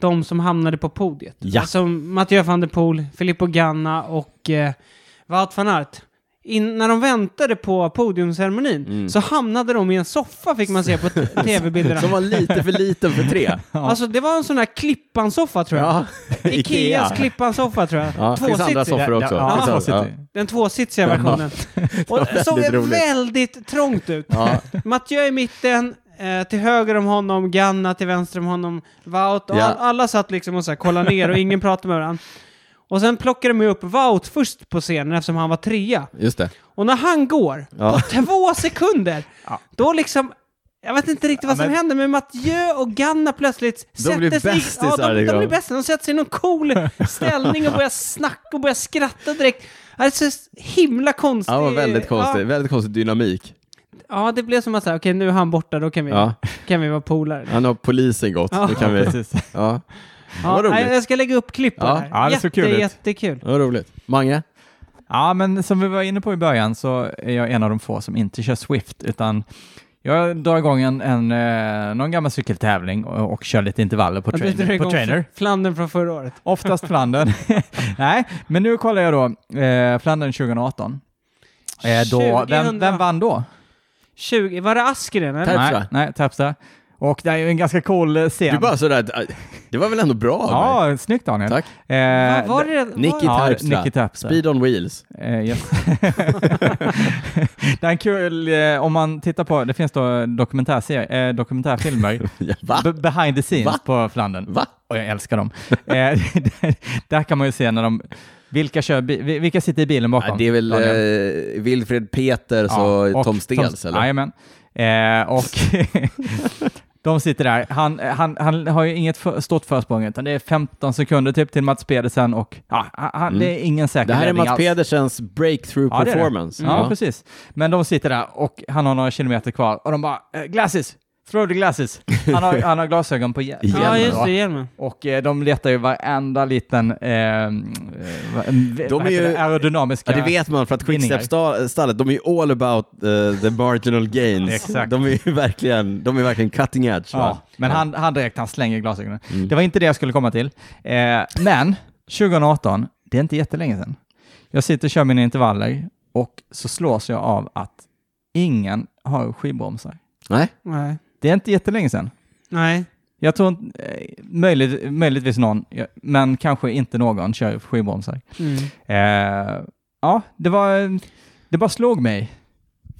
S2: de som hamnade på podiet,
S1: Ja.
S2: alltså Mathieu van der Poel, Filippo Ganna och eh, Wout van Aert, in, när de väntade på podiumceremonin
S1: Mm.
S2: så hamnade de i en soffa fick man se på t- tv-bilderna.
S1: Som var lite för liten för tre.
S2: Alltså det var en sån här Klippan-soffa tror jag.
S1: Ja.
S2: Ikeas Klippan-soffa tror jag.
S1: Ja, det finns andra
S2: Tvåsitsig.
S1: soffor också.
S3: Ja,
S1: Finns
S3: ja,
S1: andra-
S3: ja.
S2: Den tvåsitsiga versionen. Och det såg
S1: väldigt roligt.
S2: väldigt trångt ut.
S1: Ja.
S2: Mathieu i mitten, eh, till höger om honom, Ganna till vänster om honom, Wout. Och
S1: Ja.
S2: all, alla satt liksom och så här, kollade ner och ingen pratade med varandra. Och sen plockade de ju upp Wout först på scenen eftersom han var trea.
S1: Just det.
S2: Och när han går,
S1: Ja.
S2: på två sekunder, då liksom... Jag vet inte riktigt vad som
S3: men-
S2: händer, men Mathieu och Ganna plötsligt sätter
S1: blir
S2: sig...
S1: bästisar,
S2: ja, de, de
S1: liksom.
S2: blir bästisar. De sätter sig i någon cool ställning och börjar snacka och börjar skratta direkt. Ja, Det är så himla konstigt.
S1: Ja, det var väldigt konstig, väldigt konstig dynamik.
S2: Ja, ja, det blev som att säga, okej nu är han borta, då kan vi,
S1: Ja.
S2: kan vi vara polare.
S1: Han har polisen gått.
S2: Ja.
S1: Nu kan vi...
S3: Precis.
S1: Ja.
S2: Ja,
S1: vad roligt.
S2: nej, jag ska lägga upp klipp på
S1: Ja.
S2: det här.
S3: Ja, det såg kul ut.
S2: Jättekul.
S1: Vad roligt. Mange?
S3: Ja, men som vi var inne på i början så är jag en av de få som inte kör Swift, utan jag drar igång en, en, eh, någon gammal cykeltävling och, och kör lite intervaller på,
S2: Ja, du drar
S3: trainer, på
S2: igång
S3: trainer.
S2: Flandern från förra året.
S3: Oftast Flandern. Nej, men nu kollar jag då eh, Flandern 2018. Eh, då, vem,
S2: 2000.
S3: vem vann då?
S2: 20, var det Askren? Eller?
S1: Terpstra.
S3: Nej, nej Terpstra. Och det är ju en ganska cool eh, scen.
S1: Du bara sådär... äh, Det var väl ändå bra av mig?
S3: Ja, snyggt Daniel.
S1: Tack.
S3: Eh,
S2: Vad var det?
S1: Nicky
S2: var,
S3: Ja,
S1: Terpstra.
S3: Nicky Terpstra.
S1: Speed on wheels.
S3: Eh, yes. det är en kul, eh, om man tittar på, det finns då dokumentärserie, eh, dokumentärfilmer,
S1: Ja, Va?
S3: be- behind the scenes
S1: Va?
S3: på Flandern.
S1: Va?
S3: Och jag älskar dem. Eh, där kan man ju se när de, vilka, kör, bi- vi- vilka sitter i bilen bakom?
S1: Ja, det är väl
S3: Daniel?
S1: eh, Wilfred Peters
S3: Ja,
S1: och Tom Stels, eller?
S3: Jajamän. Eh, och de sitter där. Han, han, han har ju inget för, stort försprång, utan det är 15 sekunder typ till Mats Pedersen och ja, han, det är ingen säker
S1: Mm. Det här är
S3: ledning
S1: Mats
S3: alls.
S1: Pedersens breakthrough
S3: Ja, det är det.
S1: performance.
S3: Ja, precis. Men de sitter där och han har några kilometer kvar och de bara eh, “glasses, throw the glasses”. Han har, han har glasögon på hjä-
S1: Igen.
S2: Ja,
S3: hjälmen,
S2: just
S3: va?
S2: det, hjälmen.
S3: Och eh, de letar ju varenda liten eh, eh, vad- vad
S1: är
S3: heter
S1: ju-
S3: det? aerodynamiska...
S1: Ja, det vet man för att
S3: Vinningar.
S1: Quickstep-stallet, de är ju all about eh, the marginal gains.
S3: Exakt.
S1: De är ju verkligen, de är verkligen cutting edge.
S3: Ja,
S1: va?
S3: men Han, han direkt, han slänger glasögonen.
S1: Mm.
S3: Det var inte det jag skulle komma till. Eh, men 2018, det är inte jättelänge sedan. Jag sitter och kör mina intervaller och så slås jag av att ingen har skivbromsar.
S1: Nej?
S2: Nej.
S3: Det är inte jättelänge sedan.
S2: Nej.
S3: Jag tror inte, eh, möjligt, möjligtvis någon, ja, men kanske inte någon kör skivbromsar.
S2: Mm.
S3: Eh, ja, det var, det bara slog mig.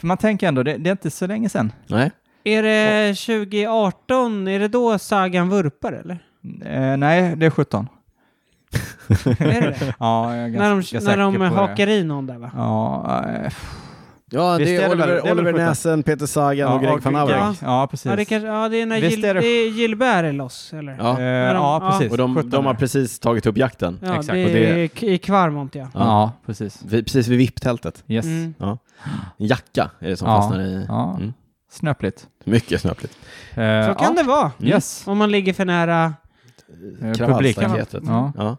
S3: För man tänker ändå, det, det är inte så länge sedan.
S1: Nej?
S2: Är det 2018, är det då sagan vurpar eller?
S3: Eh, nej, det är 17.
S2: är det det?
S3: Ja, jag är ganska
S2: när de,
S3: säker
S2: när de
S3: på det.
S2: hakar i någon där va?
S3: Ja, eh,
S1: Ja,
S3: Visst
S1: det
S3: är
S1: är
S3: det väl-
S1: Oliver,
S3: det är väl
S1: Oliver
S3: skjuta.
S1: Näsen, Peter Sagan och Greg van Averk.
S2: Greg.
S3: Ja, precis.
S2: Ja, det kanske, ja, det är när
S3: Visst
S2: Gil,
S3: är det-
S2: det är Gilbert är loss, eller?
S1: Ja.
S3: Eh,
S2: När de-
S3: ja,
S2: ja.
S3: precis.
S1: Och de,
S3: 17.
S1: de har precis tagit upp jakten.
S2: Ja,
S3: exakt.
S2: Det,
S1: Och det-
S2: är k- i Kvarmont, ja.
S1: Ja.
S3: Ja, precis.
S1: Vi, precis vid VIP-tältet.
S3: Yes.
S2: Mm.
S1: En jacka är det som
S3: Ja.
S1: fastnar i.
S3: Ja,
S1: Mm.
S3: snöpligt.
S1: Mycket snöpligt.
S2: Så kan det vara.
S3: Eh,
S1: Mm.
S3: Yes.
S2: Om man ligger för nära
S3: Eh,
S1: Kravallstaketet.
S3: Ja.
S1: Ja.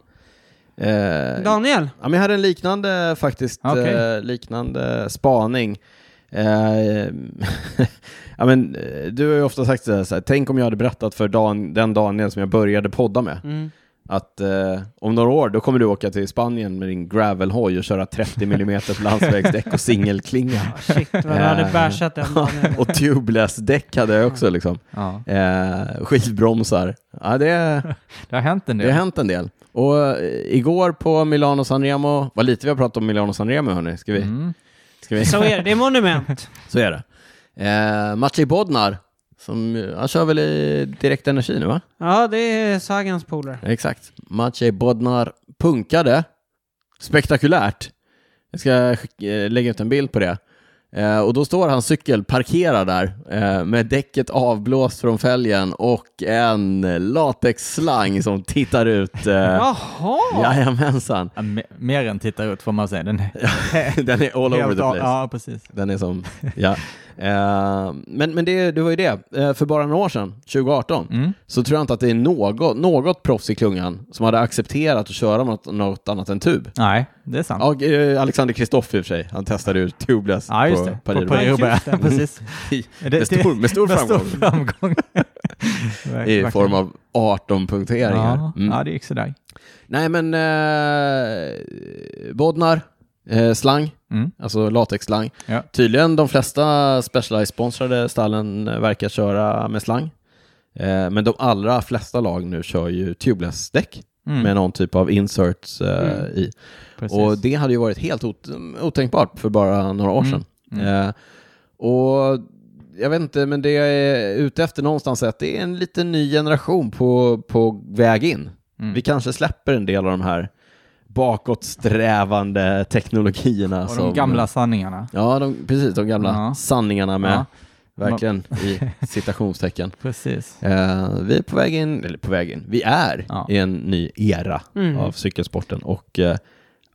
S1: Eh,
S2: Daniel.
S1: Ja, men jag hade en liknande faktiskt,
S3: Ah, Okej.
S1: eh, liknande spaning. Eh, ja, men, eh, du har ju ofta sagt så här, så här, tänk om jag hade berättat för Dan, den Daniel som jag började podda med,
S2: Mm.
S1: att eh, om några år då kommer du åka till Spanien med din gravelhoj och köra 30 mm på landsvägsdäck och singelklinga.
S2: Ah, shit, vad du hade
S1: Eh.
S2: bashat den Daniel.
S1: och tubeless-däck hade jag också liksom.
S3: Ja.
S1: Eh, skivbromsar. Ja, det,
S3: Det har hänt en
S1: det har
S3: del.
S1: hänt en del. Och eh, igår på Milano Sanremo, vad lite vi har pratat om Milano Sanremo hörni, ska vi?
S3: Mm.
S1: Ska vi?
S2: Så är det, det är monument.
S1: Så är det. Eh, Maciej Bodnar, som, eh, han kör väl i Direkt Energi nu va?
S2: Ja, det är Sagans polare.
S1: Exakt. Maciej Bodnar punkade spektakulärt. Jag ska skick- eh, lägga ut en bild på det. Eh, och då står hans cykel parkerad där eh, med däcket avblåst från fälgen och en latexslang som tittar ut. Eh,
S2: Jaha!
S1: Jajamensan.
S3: Ja, me- Mer än tittar ut får man säga. Den är
S1: Den är all over
S3: helt
S1: the
S3: av-
S1: place.
S3: Ja, precis.
S1: Den är som, ja. Eh, men men det, det var ju det, Eh, för bara några år sedan, 2018,
S3: Mm.
S1: så tror jag inte att det är något, något proffs i klungan som hade accepterat att köra något, något annat än tub.
S3: Nej, det är sant.
S1: Ja, eh, Alexander Kristoff i och för sig, han testade ju tubeless
S3: Ja, just
S1: på
S3: det.
S1: Paris.
S3: på Paris-Roubaix.
S2: Ja,
S3: precis. Det-
S1: med, stor, med stor
S3: Med stor
S1: framgång
S3: framgång.
S1: i form av 18 punkteringar.
S3: Ja,
S1: Mm.
S3: ja, det gick sådär.
S1: Nej men, eh, Bodnar, eh, slang,
S3: Mm.
S1: alltså latexslang.
S3: Ja.
S1: Tydligen de flesta Specialized-sponsrade stallen eh, verkar köra med slang. Eh, men de allra flesta lag nu kör ju tubeless-däck
S3: Mm.
S1: med någon typ av inserts eh,
S2: Mm.
S1: i.
S3: Precis.
S1: Och det hade ju varit helt ot- otänkbart för bara några år
S3: Mm.
S1: sedan.
S3: Mm.
S1: Eh, och jag vet inte, men det jag är ute efter någonstans är att det är en liten ny generation på, på väg in.
S3: Mm.
S1: Vi kanske släpper en del av de här bakåtsträvande teknologierna.
S3: och de
S1: som-
S3: gamla sanningarna.
S1: Ja, de, precis. De gamla
S3: Ja.
S1: sanningarna med,
S3: Ja,
S1: verkligen i citationstecken.
S3: precis.
S1: Eh, vi är på väg in, eller på väg in, vi är
S3: Ja.
S1: i en ny era
S2: Mm.
S1: av cykelsporten och eh,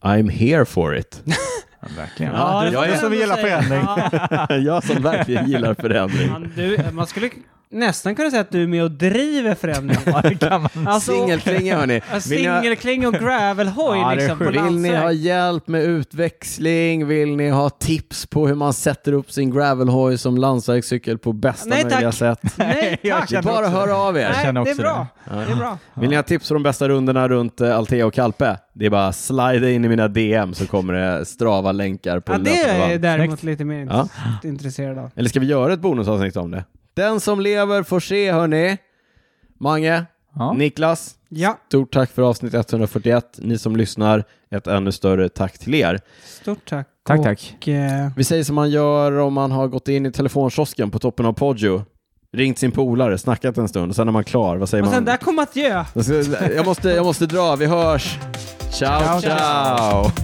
S1: I'm here for it.
S3: Ja, verkligen.
S1: Ja, det får man
S3: som
S2: ändå
S3: gillar
S2: säga.
S3: förändring.
S2: Ja,
S1: jag som verkligen gillar förändring.
S2: man, du, man skulle nästan kunna säga att du är med och driver förändring.
S3: Ja, det kan man.
S2: Alltså,
S1: Singelklinga hörni.
S2: ja,
S1: Vill ni ha-
S2: Singelkling och gravelhoj
S3: Ja, det är
S2: liksom, på
S3: sjukt.
S1: Vill ni ha
S2: landsväg.
S1: hjälp med utväxling? Vill ni ha tips på hur man sätter upp sin gravelhoj som landsvägscykel på bästa
S2: Nej, tack.
S1: möjliga sätt?
S2: Nej,
S3: Jag
S2: tack!
S3: känner-
S1: Bara hör av er.
S2: Nej,
S3: känner
S2: det är
S3: också
S2: bra.
S1: Ja.
S2: Det är bra.
S1: Vill ni ha tips på de bästa rundorna runt eh, Altea och Kalpe? Det är bara att slida in i mina DM så kommer det strava länkar på
S2: Ja, det är jag
S1: löpande band.
S2: däremot lite mer
S1: Ja.
S2: int- intresserad av.
S1: Eller ska vi göra ett bonusavsnitt om det? Den som lever får se hörni. Mange,
S3: Ja.
S1: Niklas,
S2: Ja,
S1: stort tack för avsnitt 141. Ni som lyssnar, ett ännu större tack till er.
S2: stort tack.
S3: Tack, tack.
S2: Och, eh,
S1: Vi säger som man gör om man har gått in i telefonkiosken på toppen av Poggio, ringt sin polare, snackat en stund och sen är man klar. Vad säger
S2: och sen
S1: man?
S2: där kom att göra.
S1: Jag måste, jag måste dra, vi hörs! ciao!
S3: Ciao, ciao.
S1: ciao.